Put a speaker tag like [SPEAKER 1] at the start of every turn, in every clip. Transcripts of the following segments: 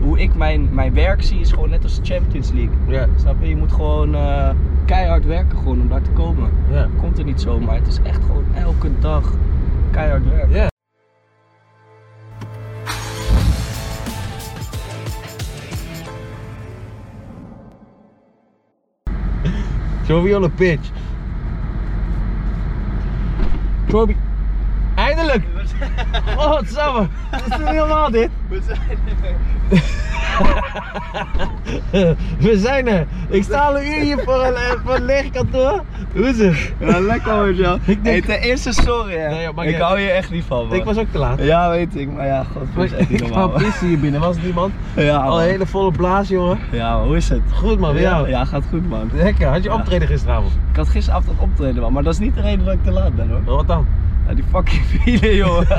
[SPEAKER 1] hoe ik mijn, mijn werk zie is gewoon net als de Champions League.
[SPEAKER 2] Ja,
[SPEAKER 1] Snap je? Je moet gewoon eh, keihard werken gewoon om daar te komen.
[SPEAKER 2] ja.
[SPEAKER 1] Komt er niet zomaar. Het is echt gewoon elke dag keihard werken.
[SPEAKER 2] Ja. Show me on the pitch. Toby. Eindelijk! Godsamme! Wat is dit helemaal dit?
[SPEAKER 1] We zijn er.
[SPEAKER 2] We zijn er! Ik sta al een uur hier voor een, eh, voor een leeg kantoor. Hoe is het?
[SPEAKER 1] Ja, lekker hoor, Jean.
[SPEAKER 2] Ik denk-
[SPEAKER 1] Hey, ten eerste sorry hè.
[SPEAKER 2] Nee, joh, maakt
[SPEAKER 1] ik
[SPEAKER 2] niet
[SPEAKER 1] hou je echt niet van man.
[SPEAKER 2] Ik was ook te laat.
[SPEAKER 1] Ja, weet ik. Maar ja, god, dat is echt niet
[SPEAKER 2] Ik
[SPEAKER 1] normaal.
[SPEAKER 2] kwam
[SPEAKER 1] man.
[SPEAKER 2] pissen hier binnen, was niemand.
[SPEAKER 1] Ja,
[SPEAKER 2] Al
[SPEAKER 1] man.
[SPEAKER 2] een hele volle blaas, jongen.
[SPEAKER 1] ja, man, hoe is het?
[SPEAKER 2] Goed man,
[SPEAKER 1] ja,
[SPEAKER 2] ja.
[SPEAKER 1] ja, gaat goed man.
[SPEAKER 2] Lekker, had je
[SPEAKER 1] Ja.
[SPEAKER 2] optreden gisteravond?
[SPEAKER 1] Ik had gisteravond dat optreden man, maar dat is niet de reden dat ik te laat ben hoor.
[SPEAKER 2] Maar wat dan?
[SPEAKER 1] Ja, die fucking file joh.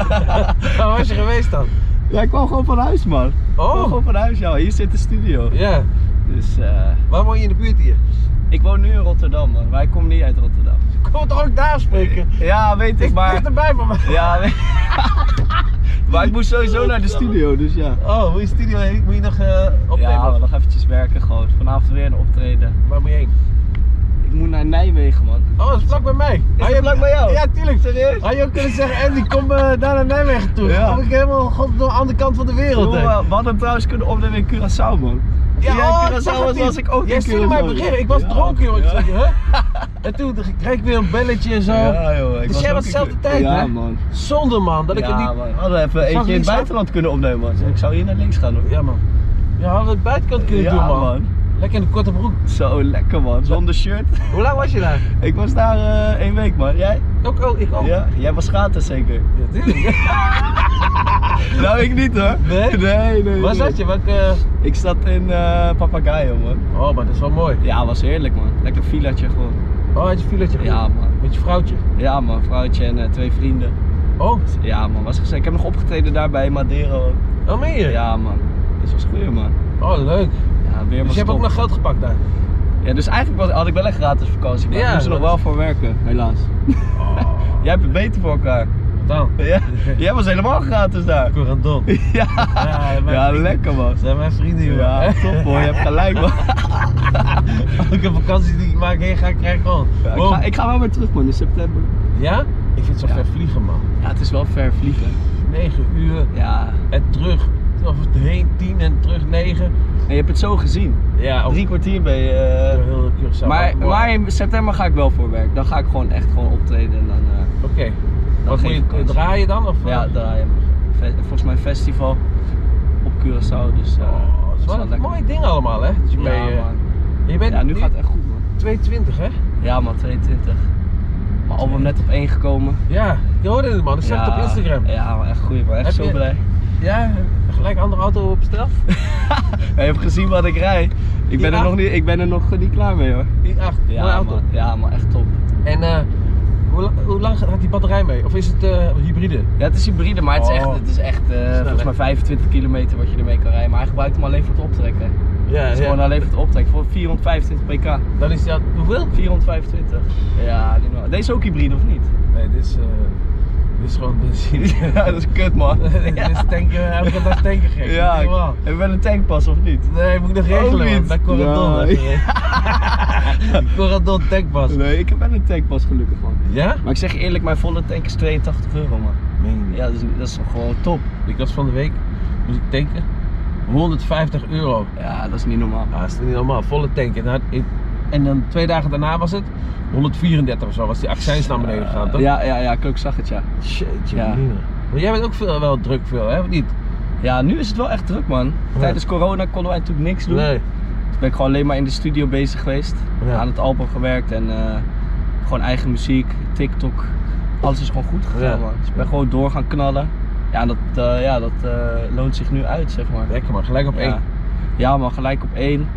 [SPEAKER 2] Waar was je geweest dan?
[SPEAKER 1] ja, ik kwam gewoon van huis man. Ik kwam
[SPEAKER 2] Oh,
[SPEAKER 1] gewoon van huis joh. Hier zit de studio.
[SPEAKER 2] ja.
[SPEAKER 1] Dus eh,
[SPEAKER 2] Waar woon je in de buurt hier?
[SPEAKER 1] ik woon nu in Rotterdam man, maar ik kom niet uit Rotterdam.
[SPEAKER 2] Kom we toch ook daar spreken?
[SPEAKER 1] Ja, weet ik,
[SPEAKER 2] Maar...
[SPEAKER 1] maar...
[SPEAKER 2] Dichterbij van mij.
[SPEAKER 1] Ja, weet... maar ik moest sowieso naar de studio, dus ja.
[SPEAKER 2] Oh, moet je studio heen? Moet je nog eh, opnemen?
[SPEAKER 1] Ja, man, nog eventjes werken gewoon. Vanavond weer een optreden.
[SPEAKER 2] Waar moet je heen?
[SPEAKER 1] Ik moet naar Nijmegen man. Oh,
[SPEAKER 2] Oh, dat is vlak bij mij. Had
[SPEAKER 1] het vlak bij jou?
[SPEAKER 2] Ja, tuurlijk.
[SPEAKER 1] Serieus?
[SPEAKER 2] Had je ook kunnen zeggen, Andy, kom eh, daar naar Nijmegen toe.
[SPEAKER 1] Ja.
[SPEAKER 2] Dan kom ik helemaal god, door de andere kant van de wereld.
[SPEAKER 1] Jongen,
[SPEAKER 2] hè.
[SPEAKER 1] eh, we hadden trouwens kunnen opnemen in Curaçao, man.
[SPEAKER 2] Ja,
[SPEAKER 1] Toen jij in
[SPEAKER 2] oh, ik
[SPEAKER 1] Curaçao
[SPEAKER 2] zag het
[SPEAKER 1] was,
[SPEAKER 2] niet.
[SPEAKER 1] was ik ook
[SPEAKER 2] Jij
[SPEAKER 1] in
[SPEAKER 2] stuurde mij
[SPEAKER 1] Curaçao.
[SPEAKER 2] bericht. Ik was
[SPEAKER 1] Ja.
[SPEAKER 2] dronken, jongen. Ik
[SPEAKER 1] Ja.
[SPEAKER 2] zei, huh? En toen kreeg ik weer een belletje en zo.
[SPEAKER 1] Ja, joh, ik
[SPEAKER 2] Dus
[SPEAKER 1] was
[SPEAKER 2] jij
[SPEAKER 1] ook
[SPEAKER 2] was
[SPEAKER 1] in
[SPEAKER 2] dezelfde
[SPEAKER 1] Cura-
[SPEAKER 2] tijd,
[SPEAKER 1] ja,
[SPEAKER 2] hè?
[SPEAKER 1] man.
[SPEAKER 2] Zonde, man. Dat ik
[SPEAKER 1] ja,
[SPEAKER 2] het niet...
[SPEAKER 1] man. Hadden we even eentje in het
[SPEAKER 2] links af?
[SPEAKER 1] buitenland kunnen opnemen, man. Ik zou hier naar links gaan, hoor.
[SPEAKER 2] Ja, man. Ja, hadden we het buitenkant kunnen
[SPEAKER 1] Ja,
[SPEAKER 2] doen, man. Lekker in de korte broek.
[SPEAKER 1] Zo lekker, man. Zonder shirt.
[SPEAKER 2] Hoe lang was je daar?
[SPEAKER 1] ik was daar eh, één week, man. Jij? Oh.
[SPEAKER 2] Ook, ook, ik ook.
[SPEAKER 1] Ja? Jij was gratis, zeker?
[SPEAKER 2] Ja, tuurlijk.
[SPEAKER 1] nou, ik niet, hoor.
[SPEAKER 2] Nee?
[SPEAKER 1] Nee, nee. nee.
[SPEAKER 2] Waar zat je? Welke...
[SPEAKER 1] Ik zat in eh Papagayo, man.
[SPEAKER 2] Oh, maar dat is wel mooi.
[SPEAKER 1] Ja, was heerlijk, man. Lekker villaatje gewoon.
[SPEAKER 2] Oh, had je filetje
[SPEAKER 1] Ja, man.
[SPEAKER 2] Met je vrouwtje.
[SPEAKER 1] Ja, man. Vrouwtje en eh, twee vrienden.
[SPEAKER 2] Oh,
[SPEAKER 1] Ja, man. Was gezellig. Ik heb nog opgetreden daar bij Madeira, ook.
[SPEAKER 2] dan meen je?
[SPEAKER 1] Ja, man. Dus was geur, man.
[SPEAKER 2] Oh, leuk.
[SPEAKER 1] Ja, weer maar
[SPEAKER 2] Dus je hebt ook
[SPEAKER 1] stop.
[SPEAKER 2] nog geld gepakt daar?
[SPEAKER 1] Ja, dus eigenlijk was, had ik wel een gratis vakantie, maar
[SPEAKER 2] Ja,
[SPEAKER 1] ik moest er nog
[SPEAKER 2] dat-
[SPEAKER 1] wel voor werken, helaas.
[SPEAKER 2] Oh,
[SPEAKER 1] Jij hebt het beter voor elkaar.
[SPEAKER 2] wat dan?
[SPEAKER 1] Ja, jij was helemaal gratis daar.
[SPEAKER 2] Corandon.
[SPEAKER 1] Ja,
[SPEAKER 2] Ja, mijn
[SPEAKER 1] ja
[SPEAKER 2] vrienden.
[SPEAKER 1] lekker man.
[SPEAKER 2] Dat zijn mijn vrienden, joh.
[SPEAKER 1] Ja, top hoor, je hebt gelijk man.
[SPEAKER 2] Elke vakantie die ik maak heen ga, krijg ik gewoon.
[SPEAKER 1] Ja, ik,
[SPEAKER 2] Wow.
[SPEAKER 1] ga, ik ga wel weer terug man, in september.
[SPEAKER 2] Ja? Ik vind het zo
[SPEAKER 1] Ja.
[SPEAKER 2] ver vliegen, man.
[SPEAKER 1] Ja, het is wel ver vliegen.
[SPEAKER 2] 9 uur
[SPEAKER 1] Ja,
[SPEAKER 2] en terug. Of heen 10 en terug 9.
[SPEAKER 1] en je hebt het zo gezien.
[SPEAKER 2] Ja, ook
[SPEAKER 1] Drie kwartier ben je... eh,
[SPEAKER 2] heel Curaçao.
[SPEAKER 1] maar,
[SPEAKER 2] Wow.
[SPEAKER 1] maar in september ga ik wel voor werk. Dan ga ik gewoon echt gewoon optreden en dan... eh,
[SPEAKER 2] Oké. Wat
[SPEAKER 1] geen
[SPEAKER 2] moet je
[SPEAKER 1] vakantie.
[SPEAKER 2] draaien dan? Of, eh?
[SPEAKER 1] Ja, draaien. Ve- Volgens mij een festival op Curaçao, dus... eh, dat
[SPEAKER 2] Oh, het is wel een
[SPEAKER 1] lekker.
[SPEAKER 2] mooi ding allemaal, hè? Dat je mee,
[SPEAKER 1] Ja,
[SPEAKER 2] eh,
[SPEAKER 1] man.
[SPEAKER 2] Je bent
[SPEAKER 1] Ja, nu gaat het echt goed, man.
[SPEAKER 2] 22, hè?
[SPEAKER 1] Ja, man, 22. Mijn album net op 1 gekomen.
[SPEAKER 2] Ja, je hoorde het, man. Ik zag
[SPEAKER 1] ja,
[SPEAKER 2] het op Instagram.
[SPEAKER 1] Ja, man, echt goed, man. Echt
[SPEAKER 2] Heb
[SPEAKER 1] zo
[SPEAKER 2] je-
[SPEAKER 1] blij.
[SPEAKER 2] Ja, gelijk andere auto op stel.
[SPEAKER 1] Je hebt gezien wat ik rijd. Ik ben,
[SPEAKER 2] Ja?
[SPEAKER 1] er nog niet, ik ben er nog niet klaar mee, hoor.
[SPEAKER 2] Die 8,
[SPEAKER 1] Ja,
[SPEAKER 2] mooie auto.
[SPEAKER 1] man. Ja, man, echt top.
[SPEAKER 2] En eh, hoe, la- hoe lang gaat die batterij mee? Of is het eh, hybride?
[SPEAKER 1] Ja, het is hybride, maar het is echt,
[SPEAKER 2] Oh.
[SPEAKER 1] het is echt eh, volgens
[SPEAKER 2] hè?
[SPEAKER 1] mij 25 kilometer wat je ermee kan rijden. Maar hij gebruikt hem alleen voor het optrekken.
[SPEAKER 2] Ja,
[SPEAKER 1] Het is gewoon alleen voor het optrekken. Voor 425 pk.
[SPEAKER 2] Dan is dat hoeveel?
[SPEAKER 1] 425. Ja, niet normaal. Deze is ook hybride, of niet?
[SPEAKER 2] Nee, dit is, eh, dit is gewoon benzine.
[SPEAKER 1] Ja, dat is kut, man.
[SPEAKER 2] dit is tanken, elke dag tanken gek.
[SPEAKER 1] Ja,
[SPEAKER 2] Niet normaal.
[SPEAKER 1] hebben we een tankpas, of niet?
[SPEAKER 2] Nee, moet ik nog
[SPEAKER 1] Ook
[SPEAKER 2] regelen, man.
[SPEAKER 1] niet.
[SPEAKER 2] Bij Corandon.
[SPEAKER 1] Nee.
[SPEAKER 2] even. Corandon tankpas.
[SPEAKER 1] Nee, ik heb wel een tankpas, gelukkig, man.
[SPEAKER 2] Ja?
[SPEAKER 1] Maar ik zeg je eerlijk, mijn volle tank is 82 euro man. Ja, dat is, dat is gewoon top.
[SPEAKER 2] Ik was van de week, moest ik tanken, 150 euro.
[SPEAKER 1] Ja, dat is niet normaal.
[SPEAKER 2] Ja, dat is niet normaal, volle tank. En, dan- en dan twee dagen daarna was het 134 of zo, was die accijns naar beneden gegaan, toch?
[SPEAKER 1] Ja, ja, ja, ik ook zag het ja.
[SPEAKER 2] Jeetje,
[SPEAKER 1] Ja.
[SPEAKER 2] mina. Maar jij bent ook veel, wel druk veel, hè? Of niet?
[SPEAKER 1] Ja, nu is het wel echt druk man. Tijdens corona konden wij natuurlijk niks doen. Toen ben ik gewoon alleen maar in de studio bezig geweest.
[SPEAKER 2] Ja.
[SPEAKER 1] Aan het album gewerkt en eh, gewoon eigen muziek, TikTok. Alles is gewoon goed gegaan
[SPEAKER 2] Ja.
[SPEAKER 1] man. Dus ik ben gewoon door gaan knallen. Ja, en dat, eh, ja, dat eh, loont zich nu uit zeg maar.
[SPEAKER 2] Lekker man, gelijk op één.
[SPEAKER 1] Ja, ja man, gelijk op één.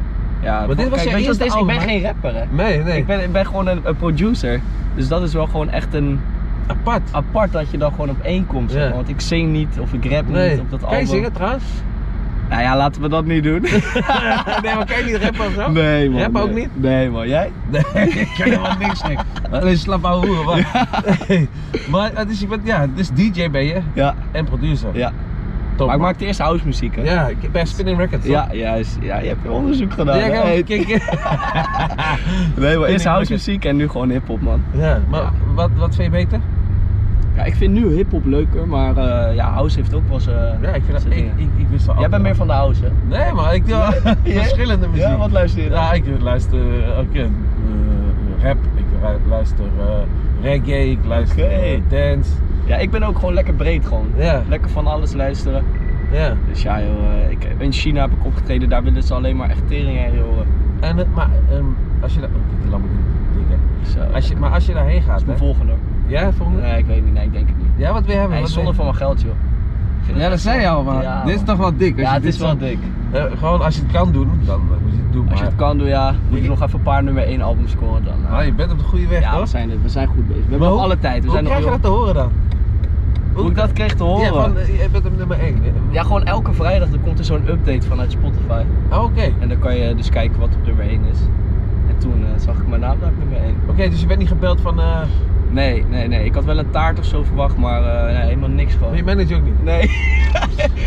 [SPEAKER 1] Ja,
[SPEAKER 2] dit was
[SPEAKER 1] kijk,
[SPEAKER 2] je
[SPEAKER 1] weet
[SPEAKER 2] eerste
[SPEAKER 1] wat het is? Ik ben
[SPEAKER 2] album, hè?
[SPEAKER 1] geen rapper hè.
[SPEAKER 2] Nee, nee,
[SPEAKER 1] Ik ben, ik ben gewoon een, een producer. Dus dat is wel gewoon echt een
[SPEAKER 2] apart.
[SPEAKER 1] apart dat je dan gewoon op één komt. zeg
[SPEAKER 2] Ja.
[SPEAKER 1] maar. Want ik zing niet of ik rap niet
[SPEAKER 2] Nee,
[SPEAKER 1] op dat
[SPEAKER 2] kan
[SPEAKER 1] album.
[SPEAKER 2] je zingen trouwens?
[SPEAKER 1] Nou ja, laten we dat niet doen.
[SPEAKER 2] nee, maar kan je niet rappen of zo?
[SPEAKER 1] nee man.
[SPEAKER 2] Rappen ook
[SPEAKER 1] nee.
[SPEAKER 2] niet?
[SPEAKER 1] Nee man, jij?
[SPEAKER 2] Nee, ik kan helemaal niks, niks. Alleen slap ouwe hoeren, wat? Nee. Maar het is, je bent, ja, dus DJ ben je
[SPEAKER 1] Ja.
[SPEAKER 2] en producer.
[SPEAKER 1] Ja.
[SPEAKER 2] Top,
[SPEAKER 1] Maar ik
[SPEAKER 2] man.
[SPEAKER 1] maakte eerst house muziek, hè?
[SPEAKER 2] Ja, ik- bij Spinning Records. toch?
[SPEAKER 1] Ja, juist. Ja, je hebt je onderzoek
[SPEAKER 2] Ja,
[SPEAKER 1] gedaan.
[SPEAKER 2] ik heb-
[SPEAKER 1] Hey,
[SPEAKER 2] kijk,
[SPEAKER 1] nee, maar eerst
[SPEAKER 2] ik-
[SPEAKER 1] house muziek en nu gewoon hip-hop, man.
[SPEAKER 2] ja, maar Wat, wat vind je beter?
[SPEAKER 1] Ja, ik vind nu hip-hop leuker, maar eh, ja, house heeft ook wel zijn.
[SPEAKER 2] Ja, ik vind dat,
[SPEAKER 1] zijn
[SPEAKER 2] ik,
[SPEAKER 1] dingen.
[SPEAKER 2] ik, ik wist wel
[SPEAKER 1] Jij bent meer van de house, hè?
[SPEAKER 2] Nee, maar ik doe
[SPEAKER 1] Ja?
[SPEAKER 2] verschillende muziek.
[SPEAKER 1] Ja, wat luister je dan?
[SPEAKER 2] Ja, ik luister eh, ook, eh, eh, rap, ik ru- luister eh, reggae, ik luister
[SPEAKER 1] Oké.
[SPEAKER 2] eh, dance.
[SPEAKER 1] Ja, ik ben ook gewoon lekker breed, gewoon.
[SPEAKER 2] Ja.
[SPEAKER 1] Lekker van alles luisteren.
[SPEAKER 2] Ja.
[SPEAKER 1] Dus ja, joh, eh, ik, in China heb ik opgetreden, daar willen ze alleen maar echt tering heen, joh.
[SPEAKER 2] En, het- maar ehm, als je daar... Oh, dit lam ik niet, dik, hè.
[SPEAKER 1] Zo.
[SPEAKER 2] Als je, maar als je daarheen
[SPEAKER 1] Dat
[SPEAKER 2] gaat,
[SPEAKER 1] is mijn
[SPEAKER 2] hè?
[SPEAKER 1] volgende.
[SPEAKER 2] Ja, volgende?
[SPEAKER 1] Nee, ik weet niet, nee, ik denk het niet.
[SPEAKER 2] Ja, wat wil je hebben?
[SPEAKER 1] Hij is
[SPEAKER 2] Wat wil
[SPEAKER 1] zonde
[SPEAKER 2] je-
[SPEAKER 1] van mijn geld, joh. Ik vind
[SPEAKER 3] Ja,
[SPEAKER 1] het
[SPEAKER 3] dat
[SPEAKER 1] echt
[SPEAKER 3] zei je
[SPEAKER 1] zonde.
[SPEAKER 3] al, man.
[SPEAKER 1] Ja,
[SPEAKER 3] dit is
[SPEAKER 1] man.
[SPEAKER 3] toch wel dik. als
[SPEAKER 1] Ja,
[SPEAKER 3] je
[SPEAKER 1] het
[SPEAKER 3] dit
[SPEAKER 1] is wel
[SPEAKER 3] zo-
[SPEAKER 1] dik.
[SPEAKER 2] Eh, gewoon als je het kan doen, dan eh, moet je het doen.
[SPEAKER 1] Als je
[SPEAKER 2] maar-
[SPEAKER 1] het kan doen, ja, moet je
[SPEAKER 2] Ik-
[SPEAKER 1] nog even een paar nummer 1 albums scoren dan. eh.
[SPEAKER 2] Ah, je bent op de goede weg,
[SPEAKER 1] ja,
[SPEAKER 2] hoor.
[SPEAKER 1] we zijn, er- we zijn goed bezig. We hebben
[SPEAKER 2] Maar
[SPEAKER 1] nog
[SPEAKER 2] hoe-
[SPEAKER 1] alle tijd. We
[SPEAKER 2] Hoe
[SPEAKER 1] zijn nog
[SPEAKER 2] krijg je
[SPEAKER 1] jong.
[SPEAKER 2] dat te horen dan?
[SPEAKER 1] Hoe ik dat kreeg te horen?
[SPEAKER 2] Ja, van, eh, je bent op nummer 1.
[SPEAKER 1] Ja, gewoon elke vrijdag dan komt er zo'n update vanuit Spotify.
[SPEAKER 2] Oh, oké.
[SPEAKER 1] En dan kan je dus kijken wat op nummer 1 is. En toen eh, zag ik mijn naam daar op nummer 1.
[SPEAKER 2] Oké, dus je bent niet gebeld van... eh,
[SPEAKER 1] Nee, nee, nee. Ik had wel een taart of zo verwacht, maar eh, nee, helemaal niks gewoon.
[SPEAKER 2] Je manager ook niet.
[SPEAKER 1] Nee.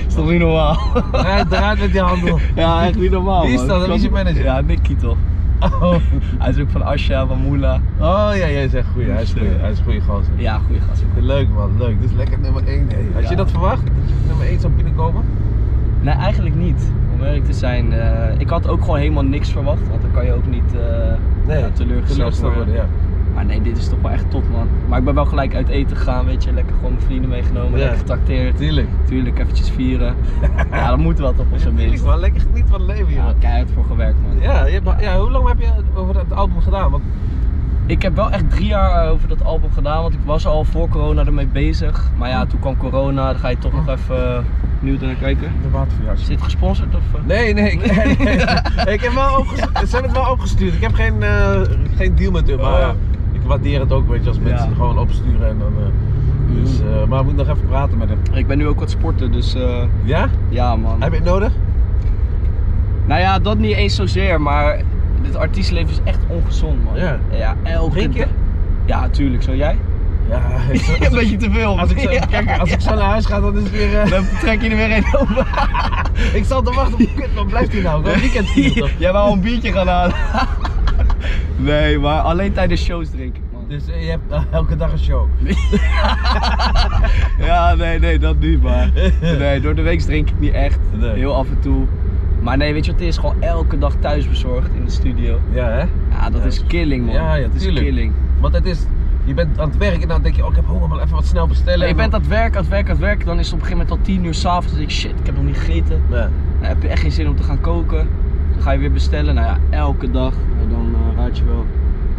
[SPEAKER 1] is toch niet normaal?
[SPEAKER 2] Eruit, eruit met die handel.
[SPEAKER 1] ja, echt niet normaal.
[SPEAKER 2] Wie is
[SPEAKER 1] man.
[SPEAKER 2] dat? Wie is je manager?
[SPEAKER 1] Ja, Nicky toch.
[SPEAKER 2] Oh,
[SPEAKER 1] Hij is ook van Asha, van Moela.
[SPEAKER 2] oh ja, jij zegt goeie. Hij is goeie. Hij is een goeie gozer.
[SPEAKER 1] Ja, goede gast.
[SPEAKER 2] Leuk man, leuk. Dus lekker nummer 1. Had je
[SPEAKER 1] Ja.
[SPEAKER 2] dat verwacht? Dat je op nummer 1 zou binnenkomen?
[SPEAKER 1] Nee, eigenlijk niet. Om eerlijk te zijn, eh, ik had ook gewoon helemaal niks verwacht. Want dan kan je ook niet eh ja, teleurgesteld worden.
[SPEAKER 2] ja.
[SPEAKER 1] Maar nee, dit is toch wel echt top, man. Maar ik ben wel gelijk uit eten gegaan, weet je. Lekker gewoon mijn vrienden meegenomen,
[SPEAKER 2] Ja.
[SPEAKER 1] lekker getrakteerd.
[SPEAKER 2] Tuurlijk.
[SPEAKER 1] Tuurlijk, eventjes vieren. ja, dat moet wel toch op zijn
[SPEAKER 2] Tuurlijk
[SPEAKER 1] minst.
[SPEAKER 2] man, lekker geniet van het leven
[SPEAKER 1] Ja,
[SPEAKER 2] joh.
[SPEAKER 1] keihard voor gewerkt, man.
[SPEAKER 2] Ja, je hebt, ja, hoe lang heb je over dat album gedaan? Want,
[SPEAKER 1] Ik heb wel echt drie jaar eh, over dat album gedaan, want ik was al voor corona ermee bezig. Maar ja, toen kwam corona, dan ga je toch nog even eh, nieuw naar kijken.
[SPEAKER 2] de
[SPEAKER 1] Is
[SPEAKER 2] waterverjas.
[SPEAKER 1] dit gesponsord of? eh?
[SPEAKER 2] Nee, nee, ik, ik heb wel opgestuurd. Ze hebben het wel opgestuurd. Ik heb geen, eh, geen deal met hun, maar
[SPEAKER 1] Oh, ja.
[SPEAKER 2] ja, ik waardeer het ook, weet je, als mensen
[SPEAKER 1] Ja. Mm.
[SPEAKER 2] gewoon opsturen en dan. eh, dus, eh, maar ik moet nog even praten met hem.
[SPEAKER 1] Ik ben nu ook wat sporten, dus eh,
[SPEAKER 2] Ja?
[SPEAKER 1] ja, man.
[SPEAKER 2] Heb je het nodig?
[SPEAKER 1] Nou ja, dat niet eens zozeer, maar dit artiestenleven is echt ongezond, man.
[SPEAKER 2] Ja.
[SPEAKER 1] Ja, elke
[SPEAKER 2] Drink je?
[SPEAKER 1] dag- Ja, tuurlijk. Zo jij?
[SPEAKER 2] Ja, als,
[SPEAKER 1] Een
[SPEAKER 2] als,
[SPEAKER 1] beetje te veel.
[SPEAKER 2] als ik zo, kijk, als ik zo naar huis ga, dan is het weer. eh,
[SPEAKER 1] Dan trek je er weer een over.
[SPEAKER 2] ik zal te wachten op kut, maar blijft hij nou? Wel weekend hier toch?
[SPEAKER 1] Jij wou een biertje gaan halen. nee, maar alleen tijdens shows drink ik, man.
[SPEAKER 2] Dus eh, je hebt eh, elke dag een show.
[SPEAKER 1] Ja, nee, nee, dat niet, maar. Nee, door de week drink ik niet echt.
[SPEAKER 2] Nee.
[SPEAKER 1] Heel af en toe. Maar nee, weet je wat het is? Gewoon elke dag thuis bezorgd in de studio.
[SPEAKER 2] Ja, hè?
[SPEAKER 1] Ja, dat
[SPEAKER 2] Ja,
[SPEAKER 1] is killing, man.
[SPEAKER 2] ja, ja,
[SPEAKER 1] dat is
[SPEAKER 2] tuurlijk.
[SPEAKER 1] killing.
[SPEAKER 2] Want het is, je bent aan het werk en dan denk je, oh, ik heb honger, maar even wat snel bestellen.
[SPEAKER 1] Nee, je bent aan het werk, aan het werk, aan het werk. Dan is het op een gegeven moment al 10 uur s'avonds. Dan denk ik, shit, ik heb nog niet gegeten.
[SPEAKER 2] Ja.
[SPEAKER 1] Dan heb je echt geen zin om te gaan koken. Dan ga je weer bestellen. Nou ja, elke dag. En dan eh, raad je wel.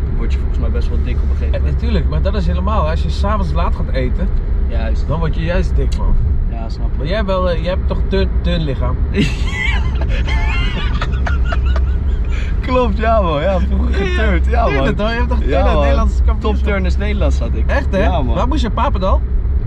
[SPEAKER 1] Dan word je volgens mij best wel dik op een gegeven
[SPEAKER 2] En
[SPEAKER 1] moment.
[SPEAKER 2] natuurlijk, maar dat is helemaal. Als je s'avonds laat gaat eten,
[SPEAKER 1] Juist.
[SPEAKER 2] dan word je juist dik, man.
[SPEAKER 1] Ja, snap
[SPEAKER 2] Maar jij, hebt wel, eh, jij hebt toch dun, dun lichaam?
[SPEAKER 1] Klopt, ja man. Ja, vroeger geturnd. Ja
[SPEAKER 2] Turn het,
[SPEAKER 1] man.
[SPEAKER 2] hoor. Je hebt toch turn
[SPEAKER 1] Ja,
[SPEAKER 2] aan
[SPEAKER 1] man.
[SPEAKER 2] Nederlandse kampioen?
[SPEAKER 1] Top turners Nederlands had ik.
[SPEAKER 2] Echt, hè?
[SPEAKER 1] Ja
[SPEAKER 2] Waar
[SPEAKER 1] man.
[SPEAKER 2] moest je papen dan?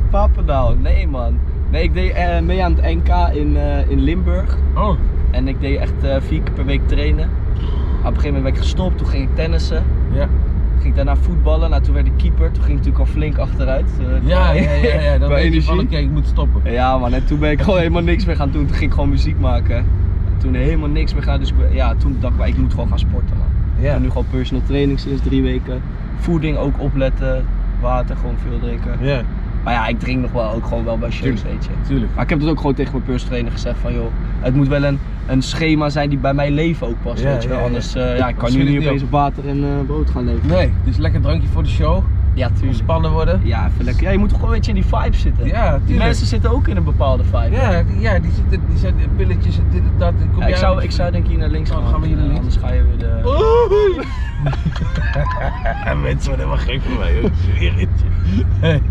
[SPEAKER 1] Papendaal. Nee man. Nee, ik deed eh, mee aan het NK in, eh, in Limburg.
[SPEAKER 2] Oh.
[SPEAKER 1] En ik deed echt eh, vier keer per week trainen. Op een gegeven moment ben ik gestopt. Toen ging ik tennissen.
[SPEAKER 2] Ja.
[SPEAKER 1] Toen ging ik daarna voetballen. Nou, toen werd ik keeper. Toen ging ik natuurlijk al flink achteruit. eh,
[SPEAKER 2] Ja, ja, ja, ja. Dan
[SPEAKER 1] qua
[SPEAKER 2] weet je van,
[SPEAKER 1] energie.
[SPEAKER 2] oké, ik moet stoppen.
[SPEAKER 1] Ja man, en toen ben ik gewoon helemaal niks meer gaan doen. Toen ging ik gewoon muziek maken. En toen helemaal niks meer gaan. Dus ik ben- ja, toen dacht ik, wel, ik moet gewoon gaan sporten man. Ik
[SPEAKER 2] Ja.
[SPEAKER 1] ben nu gewoon personal training sinds drie weken. Voeding ook opletten. Water gewoon veel drinken.
[SPEAKER 2] Ja,
[SPEAKER 1] Maar ja, ik drink nog wel ook gewoon wel bij shows,
[SPEAKER 2] Tuurlijk.
[SPEAKER 1] weet je.
[SPEAKER 2] tuurlijk.
[SPEAKER 1] Maar ik heb dat ook gewoon tegen mijn personal trainer gezegd van joh, het moet wel een, een schema zijn die bij mijn leven ook past,
[SPEAKER 2] Ja,
[SPEAKER 1] weet je wel.
[SPEAKER 2] ja, ja.
[SPEAKER 1] Anders eh, ja, ik kan
[SPEAKER 2] Schiet
[SPEAKER 1] nu
[SPEAKER 2] het
[SPEAKER 1] niet
[SPEAKER 2] niet
[SPEAKER 1] opeens
[SPEAKER 2] op.
[SPEAKER 1] op water en eh, brood gaan leven.
[SPEAKER 2] Nee, dus lekker drankje voor de show.
[SPEAKER 1] Ja, tuurlijk.
[SPEAKER 2] Ontspannen worden.
[SPEAKER 1] Ja, even lekker. Ja, je moet toch gewoon een beetje in die vibe zitten.
[SPEAKER 2] Ja,
[SPEAKER 1] die
[SPEAKER 2] tuurlijk.
[SPEAKER 1] mensen zitten ook in een bepaalde vibe.
[SPEAKER 2] Ja, die- ja die, zitten, die zijn die pilletjes en dit en dat. en kom
[SPEAKER 1] Ja, ik,
[SPEAKER 2] jij
[SPEAKER 1] zou,
[SPEAKER 2] met-
[SPEAKER 1] ik zou denk ik hier naar links
[SPEAKER 2] Oh,
[SPEAKER 1] gaan.
[SPEAKER 2] dan gaan we hier naar
[SPEAKER 1] eh,
[SPEAKER 2] links.
[SPEAKER 1] Anders ga je weer de...
[SPEAKER 2] Oei! Mensen worden helemaal gek van mij, joh. Hey.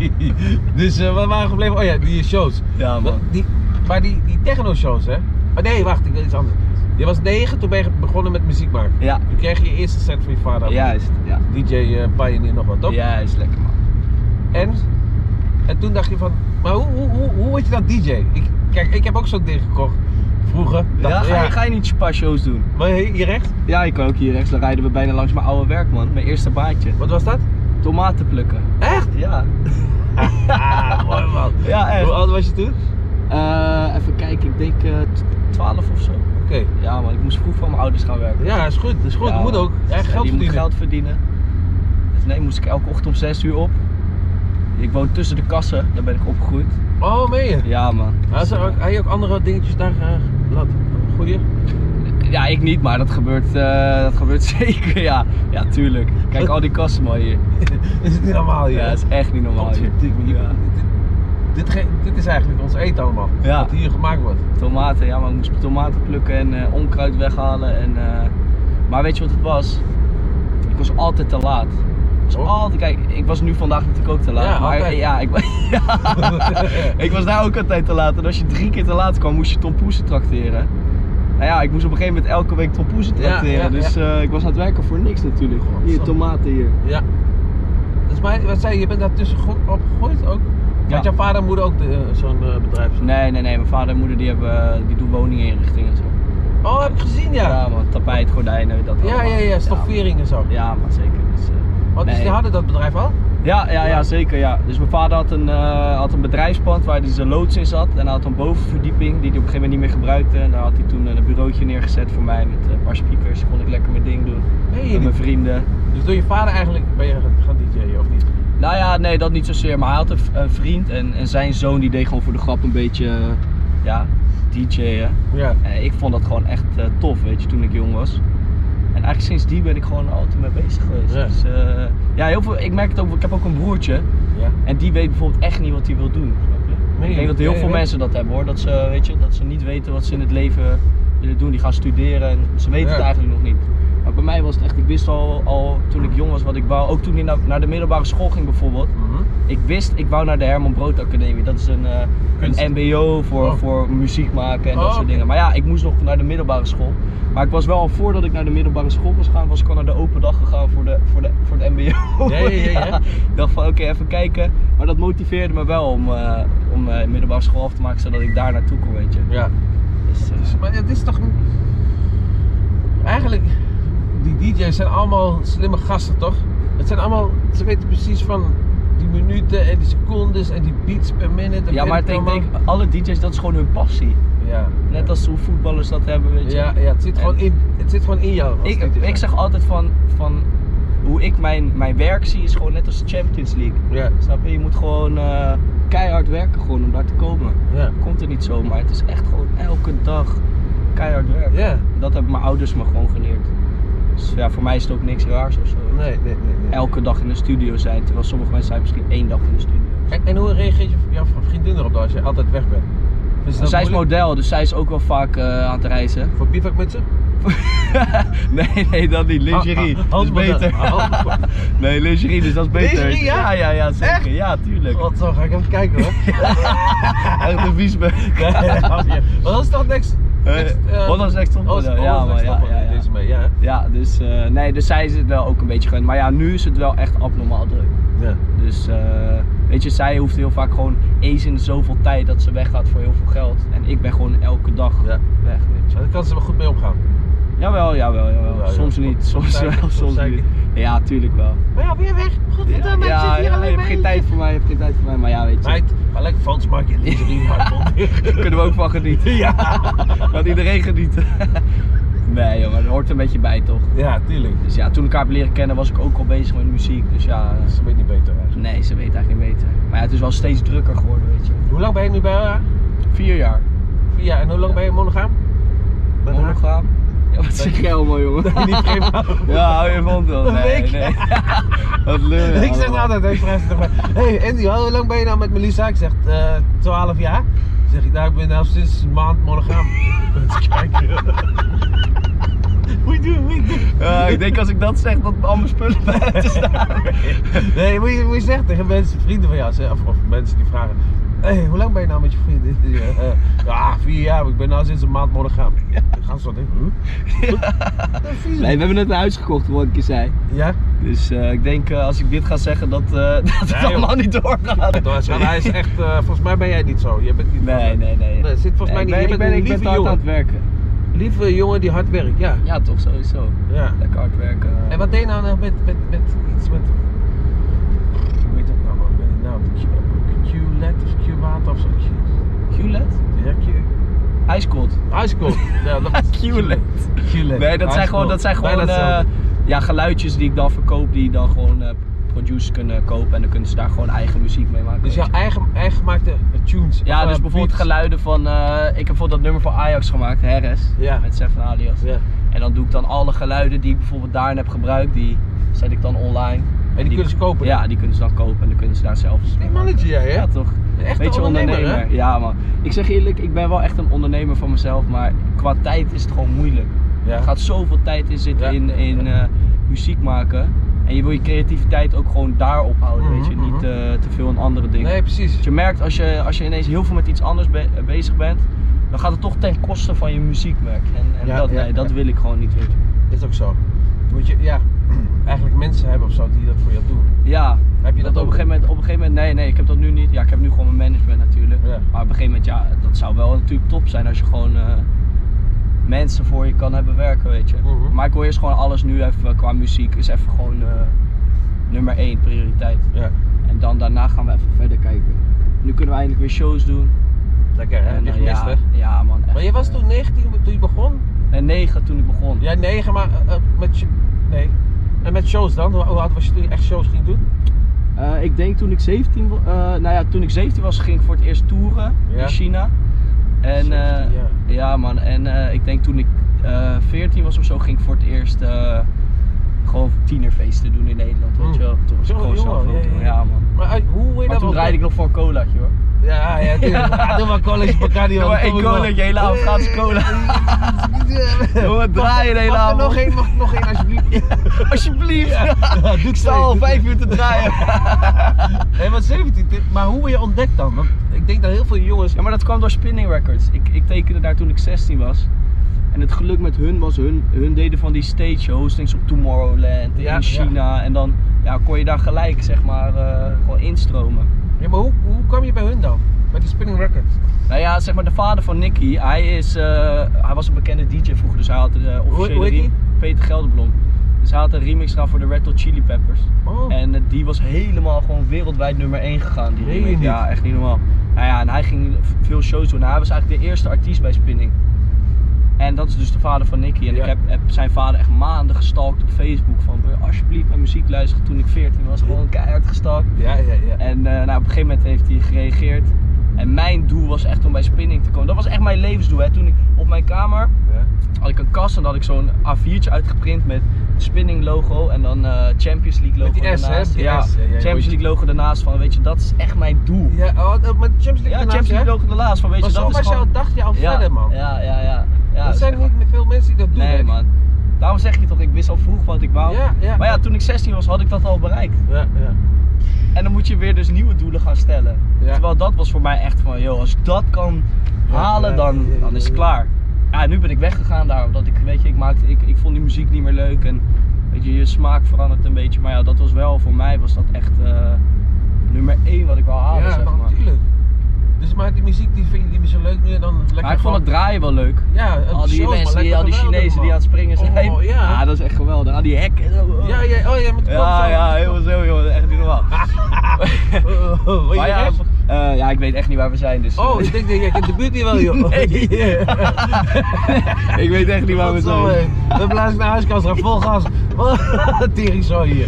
[SPEAKER 2] Dus eh, waar waren we gebleven? Oh ja, die shows.
[SPEAKER 1] Ja man.
[SPEAKER 2] Die, maar die, die techno-shows, hè? Oh nee, wacht, ik wil iets anders. Je was negen, toen ben je begonnen met muziek maken.
[SPEAKER 1] Ja,
[SPEAKER 2] Toen kreeg je je eerste set van je vader.
[SPEAKER 1] juist. Ja,
[SPEAKER 2] DJ eh, Pioneer nog wat, toch?
[SPEAKER 1] juist. Lekker man.
[SPEAKER 2] En, en toen dacht je van, maar hoe, hoe, hoe, hoe word je dan DJ? Ik, kijk, ik heb ook zo'n ding gekocht vroeger.
[SPEAKER 1] Ja,
[SPEAKER 2] Dacht,
[SPEAKER 1] ga, Je, ga je niet een paar shows doen?
[SPEAKER 2] Maar hier hier rechts,
[SPEAKER 1] Ja, ik kan ook hier rechts. Dan rijden we bijna langs mijn oude werk, man. Mijn eerste baantje.
[SPEAKER 2] wat was dat?
[SPEAKER 1] Tomaten plukken.
[SPEAKER 2] Echt?
[SPEAKER 1] Ja.
[SPEAKER 2] Ah, mooi man.
[SPEAKER 1] Ja, echt.
[SPEAKER 2] Hoe oud was je toen?
[SPEAKER 1] Eh, even kijken, ik denk eh, tw- 12 of zo.
[SPEAKER 2] Oké.
[SPEAKER 1] Ja man, ik moest vroeg voor mijn ouders gaan werken.
[SPEAKER 2] Ja, is goed, is goed.
[SPEAKER 1] Ja,
[SPEAKER 2] moet
[SPEAKER 1] man.
[SPEAKER 2] ook.
[SPEAKER 1] Dus,
[SPEAKER 2] Ja,
[SPEAKER 1] eh,
[SPEAKER 2] geld
[SPEAKER 1] die moet
[SPEAKER 2] verdienen.
[SPEAKER 1] geld verdienen. Dus nee, moest ik elke ochtend om 6 uur op. Ik woon tussen de kassen, daar ben ik opgegroeid.
[SPEAKER 2] Oh, meen je?
[SPEAKER 1] Ja man.
[SPEAKER 2] Hij
[SPEAKER 1] Dus,
[SPEAKER 2] zou ook,
[SPEAKER 1] eh,
[SPEAKER 2] had je ook andere dingetjes daar graag laten. Goeie.
[SPEAKER 1] Ja, ik niet, maar dat gebeurt, eh, dat gebeurt zeker, ja. Ja, tuurlijk. Kijk, al die kassen man hier.
[SPEAKER 2] Is het niet normaal hier?
[SPEAKER 1] Oh, Ja, dat is echt niet normaal hier. Ja.
[SPEAKER 2] Godverdikke, dit- Dit, ge- dit is eigenlijk ons eten allemaal.
[SPEAKER 1] Ja.
[SPEAKER 2] Wat hier gemaakt wordt.
[SPEAKER 1] Tomaten, ja, maar ik moest tomaten plukken en eh, onkruid weghalen. En, eh, maar weet je wat het was? Ik was altijd te laat. Ik was
[SPEAKER 2] Oh.
[SPEAKER 1] altijd, kijk, ik was nu vandaag natuurlijk ook te laat.
[SPEAKER 2] Ja,
[SPEAKER 1] maar
[SPEAKER 2] altijd.
[SPEAKER 1] ja, ik, wa- ja, ik was daar ook altijd te laat. En als je drie keer te laat kwam, moest je tompoesen trakteren. Nou ja, ik moest op een gegeven moment elke week tompoesen
[SPEAKER 2] Ja,
[SPEAKER 1] trakteren.
[SPEAKER 2] ja,
[SPEAKER 1] dus eh, ik was aan het werken voor niks natuurlijk. Hier,
[SPEAKER 2] Godzang.
[SPEAKER 1] tomaten hier.
[SPEAKER 2] Ja. Dus maar, wat zei je, je bent daartussen ge- opgegroeid ook?
[SPEAKER 1] Ja.
[SPEAKER 2] Had jouw vader en moeder ook de- zo'n eh, bedrijf?
[SPEAKER 1] Nee, nee, nee. Mijn vader en moeder die hebben, eh, die doen woninginrichting en zo.
[SPEAKER 2] Oh, heb ik gezien ja.
[SPEAKER 1] Ja, man. Tapijt, gordijnen, dat
[SPEAKER 2] Ja, ja,
[SPEAKER 1] allemaal.
[SPEAKER 2] ja, stoffering en zo.
[SPEAKER 1] man. Ja, maar zeker. Dus, eh,
[SPEAKER 2] Want dus
[SPEAKER 1] nee.
[SPEAKER 2] die hadden dat bedrijf al?
[SPEAKER 1] Ja, ja, ja, zeker ja. Dus mijn vader had een, eh, had een bedrijfspand waar hij zijn loods in zat. En hij had een bovenverdieping die hij op een gegeven moment niet meer gebruikte. En daar had hij toen eh, een bureautje neergezet voor mij met eh, een paar speakers. Kon ik lekker mijn ding doen
[SPEAKER 2] Nee,
[SPEAKER 1] met
[SPEAKER 2] jullie-
[SPEAKER 1] mijn vrienden.
[SPEAKER 2] Dus door je vader eigenlijk ben je gaan- gaan DJ'en of niet?
[SPEAKER 1] Nou ja, nee, dat niet zozeer. Maar hij had een, v- een vriend en, en zijn zoon die deed gewoon voor de grap een beetje, eh, ja, DJ'en.
[SPEAKER 2] Ja.
[SPEAKER 1] Eh, ik vond dat gewoon echt eh, tof, weet je, toen ik jong was. En eigenlijk sinds die ben ik gewoon altijd mee bezig geweest.
[SPEAKER 2] Ja.
[SPEAKER 1] Dus, eh, ja, heel veel, ik merk het ook, ik heb ook een broertje.
[SPEAKER 2] ja.
[SPEAKER 1] En die weet bijvoorbeeld echt niet wat hij wil doen. snap je?
[SPEAKER 2] Nee,
[SPEAKER 1] ik denk dat heel
[SPEAKER 2] nee,
[SPEAKER 1] veel
[SPEAKER 2] nee.
[SPEAKER 1] mensen dat hebben hoor. Dat ze, weet je, dat ze niet weten wat ze in het leven willen doen. Die gaan studeren en ze weten het
[SPEAKER 2] Ja.
[SPEAKER 1] eigenlijk nog niet. Maar bij mij was het echt, ik wist al, al toen ik jong was wat ik wou. Ook toen ik naar, naar de middelbare school ging bijvoorbeeld.
[SPEAKER 2] Mhm.
[SPEAKER 1] Ik wist, ik wou naar de Herman Brood Academie. Dat is een, eh,
[SPEAKER 2] Kunst.
[SPEAKER 1] een mbo voor,
[SPEAKER 2] Oh.
[SPEAKER 1] voor muziek maken en
[SPEAKER 2] Oh,
[SPEAKER 1] dat soort
[SPEAKER 2] oké.
[SPEAKER 1] dingen. Maar ja, ik moest nog naar de middelbare school. Maar ik was wel al voordat ik naar de middelbare school was gegaan, was ik al naar de open dag gegaan voor, de, voor, de, voor het mbo.
[SPEAKER 2] Ja, ja, ja, ja.
[SPEAKER 1] Ik dacht van oké, even kijken. Maar dat motiveerde me wel om, eh om eh, middelbare school af te maken, zodat ik daar naartoe kon, weet je.
[SPEAKER 2] Ja.
[SPEAKER 1] Dus, eh,
[SPEAKER 2] Dus, maar het is toch... Eigenlijk, die DJ's zijn allemaal slimme gasten, toch? Het zijn allemaal, ze weten precies van die minuten en die secondes en die beats per minute. en
[SPEAKER 1] ja,
[SPEAKER 2] weet
[SPEAKER 1] maar ik
[SPEAKER 2] ik
[SPEAKER 1] denk,
[SPEAKER 2] allemaal.
[SPEAKER 1] denk, alle DJ's, dat is gewoon hun passie.
[SPEAKER 2] Ja.
[SPEAKER 1] Net als hoe voetballers dat hebben, weet je.
[SPEAKER 2] Ja, ja het, zit
[SPEAKER 1] En-
[SPEAKER 2] gewoon in, het zit gewoon in jou. als
[SPEAKER 1] Ik,
[SPEAKER 2] DJ.
[SPEAKER 1] ik zeg altijd van, van hoe ik mijn, mijn werk zie, is gewoon net als Champions League.
[SPEAKER 2] Ja,
[SPEAKER 1] Snap je? Je moet gewoon eh, keihard werken gewoon om daar te komen.
[SPEAKER 2] ja.
[SPEAKER 1] Komt er niet zomaar. Het is echt gewoon elke dag keihard werken.
[SPEAKER 2] Ja,
[SPEAKER 1] Dat hebben mijn ouders me gewoon geleerd. Dus ja, voor mij is het ook niks raars of zo.
[SPEAKER 2] nee, nee, nee. nee.
[SPEAKER 1] Elke dag in de studio zijn, terwijl sommige mensen zijn misschien één dag in de studio.
[SPEAKER 2] En, en hoe reageert je, jouw vriendin erop dan als je altijd weg bent? Vindt ze dat
[SPEAKER 1] zij is
[SPEAKER 2] moeilijk?
[SPEAKER 1] model, dus zij is ook wel vaak eh, aan het reizen.
[SPEAKER 2] Voor bivak met ze?
[SPEAKER 1] nee, nee, dat niet. Lingerie.
[SPEAKER 2] Ah, ah,
[SPEAKER 1] dat is
[SPEAKER 2] handmodel.
[SPEAKER 1] beter.
[SPEAKER 2] Ah, handmodel.
[SPEAKER 1] nee, lingerie, dus dat is beter.
[SPEAKER 2] Lingerie, ja?
[SPEAKER 1] Ja, ja, ja, zeker.
[SPEAKER 2] Echt?
[SPEAKER 1] Ja, tuurlijk.
[SPEAKER 2] God, zo ga ik even kijken hoor.
[SPEAKER 1] Echt een viesbeuk.
[SPEAKER 2] Nee, grapje. Maar dat is toch niks. Next, eh,
[SPEAKER 1] Hollands Next Top
[SPEAKER 2] Oh,
[SPEAKER 1] Model,
[SPEAKER 2] ja,
[SPEAKER 1] ja,
[SPEAKER 2] ja,
[SPEAKER 1] maar ja, ja, ja.
[SPEAKER 2] Deze mee, ja.
[SPEAKER 1] Ja, dus, eh, nee, dus zij is het wel ook een beetje gewend. Maar ja, nu is het wel echt abnormaal druk.
[SPEAKER 2] ja.
[SPEAKER 1] Dus eh, weet je, zij hoeft heel vaak gewoon eens in de zoveel tijd dat ze weggaat voor heel veel geld. En ik ben gewoon elke dag
[SPEAKER 2] Ja.
[SPEAKER 1] weg. Weet je.
[SPEAKER 2] Maar daar kan ze wel goed mee omgaan.
[SPEAKER 1] Jawel, jawel, jawel.
[SPEAKER 2] Ja, ja.
[SPEAKER 1] soms niet, soms,
[SPEAKER 2] Soms
[SPEAKER 1] wel,
[SPEAKER 2] zeker,
[SPEAKER 1] soms,
[SPEAKER 2] soms zeker.
[SPEAKER 1] niet. Ja, tuurlijk wel.
[SPEAKER 2] Maar ja, weer weg. Godverdomme, ik
[SPEAKER 1] ja,
[SPEAKER 2] zit hier
[SPEAKER 1] ja,
[SPEAKER 2] alleen
[SPEAKER 1] je hebt geen tijd voor mij, je hebt geen tijd voor mij. Maar ja, weet je,
[SPEAKER 2] Meid, ga lekker foto's maken in lingerie, maar
[SPEAKER 1] daar kunnen we ook van genieten.
[SPEAKER 2] Ja.
[SPEAKER 1] Laat iedereen genieten. nee joh, maar dat hoort er een beetje bij toch.
[SPEAKER 2] Ja, tuurlijk.
[SPEAKER 1] Dus ja, toen ik haar heb leren kennen was ik ook al bezig met muziek. Dus ja,
[SPEAKER 2] Ze weet niet beter eigenlijk.
[SPEAKER 1] nee, ze weet eigenlijk niet beter. Maar ja, het is wel steeds drukker geworden, weet je.
[SPEAKER 2] Hoe lang ben je nu bij haar?
[SPEAKER 1] Vier jaar.
[SPEAKER 2] Vier jaar. En hoe lang ben je monogaam? Met haar?
[SPEAKER 1] Monogaam. Ja, wat zeg jij allemaal, jongen?
[SPEAKER 2] Nee, niet vreemd.
[SPEAKER 1] Ja, hou je van dan.
[SPEAKER 2] Een
[SPEAKER 1] Nee,
[SPEAKER 2] week.
[SPEAKER 1] nee. Wat lul.
[SPEAKER 2] Ik zeg altijd, ik vraag tegen mij, hey Andy, hoe lang ben je nou met Melissa? Ik zeg, eh 12 jaar. Dan zeg ik, nou ik ben nou sinds een maand monogaam. Moet kijken. Moet je doen, moet je doen.
[SPEAKER 1] Ja, ik denk als ik dat zeg, dat al mijn spullen buiten staan.
[SPEAKER 2] Nee, moet je, moet je zeggen tegen mensen, vrienden van jou, zeg, of, of mensen die vragen, hey, hoe lang ben je nou met je vrienden? Eh, eh, Ja, vier jaar, maar ik ben nou sinds een maand monogaam. Dan gaan ze zo denken, huh? Dat is vies.
[SPEAKER 1] Nee, we hebben net een huis gekocht, wat ik je zei.
[SPEAKER 2] Ja?
[SPEAKER 1] Dus eh, ik denk eh, als ik dit ga zeggen, dat, eh, dat
[SPEAKER 2] Nee,
[SPEAKER 1] het
[SPEAKER 2] joh.
[SPEAKER 1] allemaal niet doorgaat.
[SPEAKER 2] Trouwens, maar hij is echt, eh, volgens mij ben jij niet zo. Je bent niet
[SPEAKER 1] Nee, nee, nee.
[SPEAKER 2] Nee, het zit volgens mij
[SPEAKER 1] ik
[SPEAKER 2] niet-
[SPEAKER 1] ben-
[SPEAKER 2] je
[SPEAKER 1] Ik
[SPEAKER 2] bent
[SPEAKER 1] ben,
[SPEAKER 2] een
[SPEAKER 1] ik ben
[SPEAKER 2] lieve
[SPEAKER 1] te hard
[SPEAKER 2] jongen.
[SPEAKER 1] aan het werken.
[SPEAKER 2] Lieve jongen die hard werkt, ja.
[SPEAKER 1] Ja, toch sowieso.
[SPEAKER 2] ja.
[SPEAKER 1] Lekker hard werken.
[SPEAKER 2] En wat deed je nou nou met, met, met iets met. Hoe heet dat nou man? Ik ben die naam. Q- Q-led of Q-water of zo.
[SPEAKER 1] QLED?
[SPEAKER 2] Ja, Q-
[SPEAKER 1] IJskoud.
[SPEAKER 2] Ice cold. Ja, dat was-
[SPEAKER 1] QLED.
[SPEAKER 2] QLED.
[SPEAKER 1] Nee, dat zijn
[SPEAKER 2] Ice
[SPEAKER 1] gewoon,
[SPEAKER 2] cold.
[SPEAKER 1] dat zijn
[SPEAKER 2] Bijna
[SPEAKER 1] gewoon eh,
[SPEAKER 2] hetzelfde.
[SPEAKER 1] ja, geluidjes die ik dan verkoop, die dan gewoon eh producers kunnen kopen. En dan kunnen ze daar gewoon eigen muziek mee maken.
[SPEAKER 2] Dus
[SPEAKER 1] weet
[SPEAKER 2] jouw
[SPEAKER 1] je.
[SPEAKER 2] eigen, eigen gemaakte tunes.
[SPEAKER 1] eh, ja,
[SPEAKER 2] of,
[SPEAKER 1] dus
[SPEAKER 2] eh,
[SPEAKER 1] bijvoorbeeld
[SPEAKER 2] beats.
[SPEAKER 1] geluiden van. eh, ik heb bijvoorbeeld dat nummer voor Ajax gemaakt, Harris.
[SPEAKER 2] Ja.
[SPEAKER 1] Met Seven Alias.
[SPEAKER 2] Ja.
[SPEAKER 1] En dan doe ik dan alle geluiden die ik bijvoorbeeld daarin heb gebruikt, die zet ik dan online.
[SPEAKER 2] En die, kunnen ze kopen.
[SPEAKER 1] Ja, die kunnen ze dan kopen en dan kunnen ze daar zelf. eens mee
[SPEAKER 2] Slim
[SPEAKER 1] maken.
[SPEAKER 2] manager jij, hè?
[SPEAKER 1] Ja, toch?
[SPEAKER 2] Echt
[SPEAKER 1] Beetje ondernemer.
[SPEAKER 2] hè?
[SPEAKER 1] Ja, man. Ik zeg eerlijk, ik ben wel echt een ondernemer van mezelf, maar qua tijd is het gewoon moeilijk.
[SPEAKER 2] Ja.
[SPEAKER 1] Er gaat zoveel tijd in zitten
[SPEAKER 2] Ja.
[SPEAKER 1] in, in eh, muziek maken. En je wil je creativiteit ook gewoon daarop houden, weet je.
[SPEAKER 2] Mhm,
[SPEAKER 1] Niet
[SPEAKER 2] mhm.
[SPEAKER 1] eh, te veel aan andere dingen.
[SPEAKER 2] Nee, precies.
[SPEAKER 1] Dus je merkt als je, als je ineens heel veel met iets anders be- eh, bezig bent, dan gaat het toch ten koste van je muziekmerk. En, en
[SPEAKER 2] Ja,
[SPEAKER 1] dat,
[SPEAKER 2] ja,
[SPEAKER 1] nee, dat
[SPEAKER 2] ja.
[SPEAKER 1] wil ik gewoon niet weten.
[SPEAKER 2] Is ook zo. Moet je, ja, eigenlijk mensen hebben of zo die dat voor jou doen.
[SPEAKER 1] Ja,
[SPEAKER 2] Heb je dat,
[SPEAKER 1] dat op, een
[SPEAKER 2] ook?
[SPEAKER 1] gegeven moment, op een gegeven moment, nee, nee, ik heb dat nu niet. Ja, ik heb nu gewoon mijn management natuurlijk.
[SPEAKER 2] Ja.
[SPEAKER 1] Maar op een gegeven moment, ja, dat zou wel natuurlijk top zijn als je gewoon eh, mensen voor je kan hebben werken, weet je.
[SPEAKER 2] Mhm.
[SPEAKER 1] Maar ik wil eerst gewoon alles nu even qua muziek, is even gewoon eh, nummer één prioriteit.
[SPEAKER 2] Ja,
[SPEAKER 1] En dan daarna gaan we even verder kijken. Nu kunnen we eindelijk weer shows doen.
[SPEAKER 2] lekker hè? Heb je
[SPEAKER 1] eh,
[SPEAKER 2] gemist
[SPEAKER 1] ja,
[SPEAKER 2] hè?
[SPEAKER 1] ja, man.
[SPEAKER 2] Maar je was
[SPEAKER 1] eh,
[SPEAKER 2] toen 19 toen je begon?
[SPEAKER 1] eh, negen toen ik begon.
[SPEAKER 2] Ja, 9, maar eh, eh, met, sh- nee. En met shows dan? Hoe hoe oud was je toen je echt shows ging doen?
[SPEAKER 1] Eh, ik denk toen ik 17 wa- eh, nou ja, toen ik 17 was, ging ik voor het eerst toeren
[SPEAKER 2] Ja.
[SPEAKER 1] in China. En, eh,
[SPEAKER 2] 17 jaar.
[SPEAKER 1] ja man, en eh, ik denk toen ik eh 14 was of zo, ging ik voor het eerst eh, gewoon tienerfeesten doen in Nederland, weet
[SPEAKER 2] Mm.
[SPEAKER 1] je wel. Toen was ik
[SPEAKER 2] Zo
[SPEAKER 1] gewoon
[SPEAKER 2] jong al,
[SPEAKER 1] zelf
[SPEAKER 2] ja,
[SPEAKER 1] ja,
[SPEAKER 2] ja,
[SPEAKER 1] ja,
[SPEAKER 2] ja.
[SPEAKER 1] man.
[SPEAKER 2] Maar uit- hoe wil
[SPEAKER 1] Maar
[SPEAKER 2] je dat
[SPEAKER 1] toen
[SPEAKER 2] wel-
[SPEAKER 1] draaide ik nog voor een colaatje hoor.
[SPEAKER 2] Ja, ja, tuurlijk. Ja, doe maar college Bacardi.
[SPEAKER 1] Doe maar één colaatje, hele Afghaanse cola. Jongen, draai je de hele
[SPEAKER 2] Mag er
[SPEAKER 1] avond.
[SPEAKER 2] nog één, mag er nog één alsjeblieft.
[SPEAKER 1] Alsjeblieft! ik sta
[SPEAKER 2] twee,
[SPEAKER 1] al
[SPEAKER 2] doe
[SPEAKER 1] vijf uur te draaien.
[SPEAKER 2] Hé, maar 17, dit- maar hoe ben je ontdekt dan? Want ik denk dat heel veel jongens.
[SPEAKER 1] Ja, maar dat kwam door Spinning Records. Ik, ik tekende daar toen ik 16 was. En het geluk met hun was, hun, hun deden van die stage hostings op Tomorrowland
[SPEAKER 2] Ja, ja.
[SPEAKER 1] in China. En dan ja, kon je daar gelijk, zeg maar, eh, gewoon instromen.
[SPEAKER 2] Ja, maar hoe, hoe kwam je bij hun dan? Bij die Spinning Records?
[SPEAKER 1] Nou ja, zeg maar, de vader van Nicky, hij, is, eh, hij was een bekende DJ vroeger, dus hij had de officiële
[SPEAKER 2] hoe heet
[SPEAKER 1] riem- Peter Gelderblom. Dus hij had een remix gedaan voor de Red Hot Chili Peppers.
[SPEAKER 2] Oh.
[SPEAKER 1] En eh, die was helemaal gewoon wereldwijd nummer 1 gegaan. Die
[SPEAKER 2] Meen je
[SPEAKER 1] remix.
[SPEAKER 2] niet?
[SPEAKER 1] Ja, echt niet normaal. Nou ja, en hij ging v- veel shows doen. Hij was eigenlijk de eerste artiest bij Spinning. En dat is dus de vader van Nicky. En
[SPEAKER 2] Ja.
[SPEAKER 1] ik heb, heb zijn vader echt maanden gestalkt op Facebook. Van "Wil je alsjeblieft mijn muziek luisteren toen ik 14 was. Gewoon keihard gestalkt.
[SPEAKER 2] Ja, ja, ja.
[SPEAKER 1] En eh, nou, op een gegeven moment heeft hij gereageerd. En mijn doel was echt om bij Spinning te komen. Dat was echt mijn levensdoel. Hè. Toen ik op mijn kamer
[SPEAKER 2] Ja.
[SPEAKER 1] had ik een kast en dan had ik zo'n A4'tje uitgeprint met Spinning logo en dan eh, Champions League logo
[SPEAKER 2] Met die S, hè?
[SPEAKER 1] daarnaast.
[SPEAKER 2] Die
[SPEAKER 1] ja,
[SPEAKER 2] S, ja, ja,
[SPEAKER 1] Champions
[SPEAKER 2] moet je-
[SPEAKER 1] League logo daarnaast van, weet je, dat is echt mijn doel. Ja,
[SPEAKER 2] Ja, oh, dat- maar de Champions League daarnaast,
[SPEAKER 1] Champions
[SPEAKER 2] hè?
[SPEAKER 1] League logo daarnaast van, weet
[SPEAKER 2] Maar
[SPEAKER 1] je,
[SPEAKER 2] zo
[SPEAKER 1] dat is
[SPEAKER 2] was
[SPEAKER 1] gewoon...
[SPEAKER 2] jouw dagje al
[SPEAKER 1] ja,
[SPEAKER 2] verder, man.
[SPEAKER 1] Ja, ja, ja. ja
[SPEAKER 2] er
[SPEAKER 1] dat is
[SPEAKER 2] zijn
[SPEAKER 1] echt-
[SPEAKER 2] niet meer veel mensen die dat doen.
[SPEAKER 1] Nee,
[SPEAKER 2] hè?
[SPEAKER 1] man. Daarom zeg ik je toch, ik wist al vroeg wat ik wou.
[SPEAKER 2] Ja, ja.
[SPEAKER 1] Maar ja, toen ik 16 was, had ik dat al bereikt.
[SPEAKER 2] Ja, ja.
[SPEAKER 1] En dan moet je weer dus nieuwe doelen gaan stellen.
[SPEAKER 2] Ja.
[SPEAKER 1] Terwijl dat was voor mij echt van, joh, als ik dat kan
[SPEAKER 2] Ja, ja,
[SPEAKER 1] halen, dan,
[SPEAKER 2] ja, ja,
[SPEAKER 1] dan is het
[SPEAKER 2] ja.
[SPEAKER 1] klaar. Ja, nu ben ik weggegaan daar, omdat ik, weet je, ik, maakte, ik, ik vond die muziek niet meer leuk en weet je, je smaak verandert een beetje. Maar ja, dat was wel, voor mij was dat echt eh, nummer één wat ik wou halen,
[SPEAKER 2] ja,
[SPEAKER 1] zeg maar.
[SPEAKER 2] maar natuurlijk. Dus maar die muziek die vind je niet meer zo leuk meer dan lekker
[SPEAKER 1] Maar ik vond
[SPEAKER 2] gewoon-
[SPEAKER 1] het draaien wel leuk.
[SPEAKER 2] Ja, het
[SPEAKER 1] Al die
[SPEAKER 2] shows,
[SPEAKER 1] mensen, die,
[SPEAKER 2] maar lekker
[SPEAKER 1] al die
[SPEAKER 2] geweldig,
[SPEAKER 1] Chinezen die
[SPEAKER 2] man.
[SPEAKER 1] aan het springen zijn.
[SPEAKER 2] Oh, ja.
[SPEAKER 1] dat is echt geweldig. Al die hekken.
[SPEAKER 2] Ja, ja, oh ja, met de
[SPEAKER 1] ja, ja, heel zo joh, echt niet normaal. Maar ja,
[SPEAKER 2] ja,
[SPEAKER 1] eh, ja, ik weet echt niet waar we zijn, dus...
[SPEAKER 2] Oh, ik denk dat jij kent de buurt niet wel, joh.
[SPEAKER 1] Nee. ik weet echt niet waar we
[SPEAKER 2] zo,
[SPEAKER 1] zijn.
[SPEAKER 2] We blazen naar huiskast, gaan vol gas. Tering zo hier.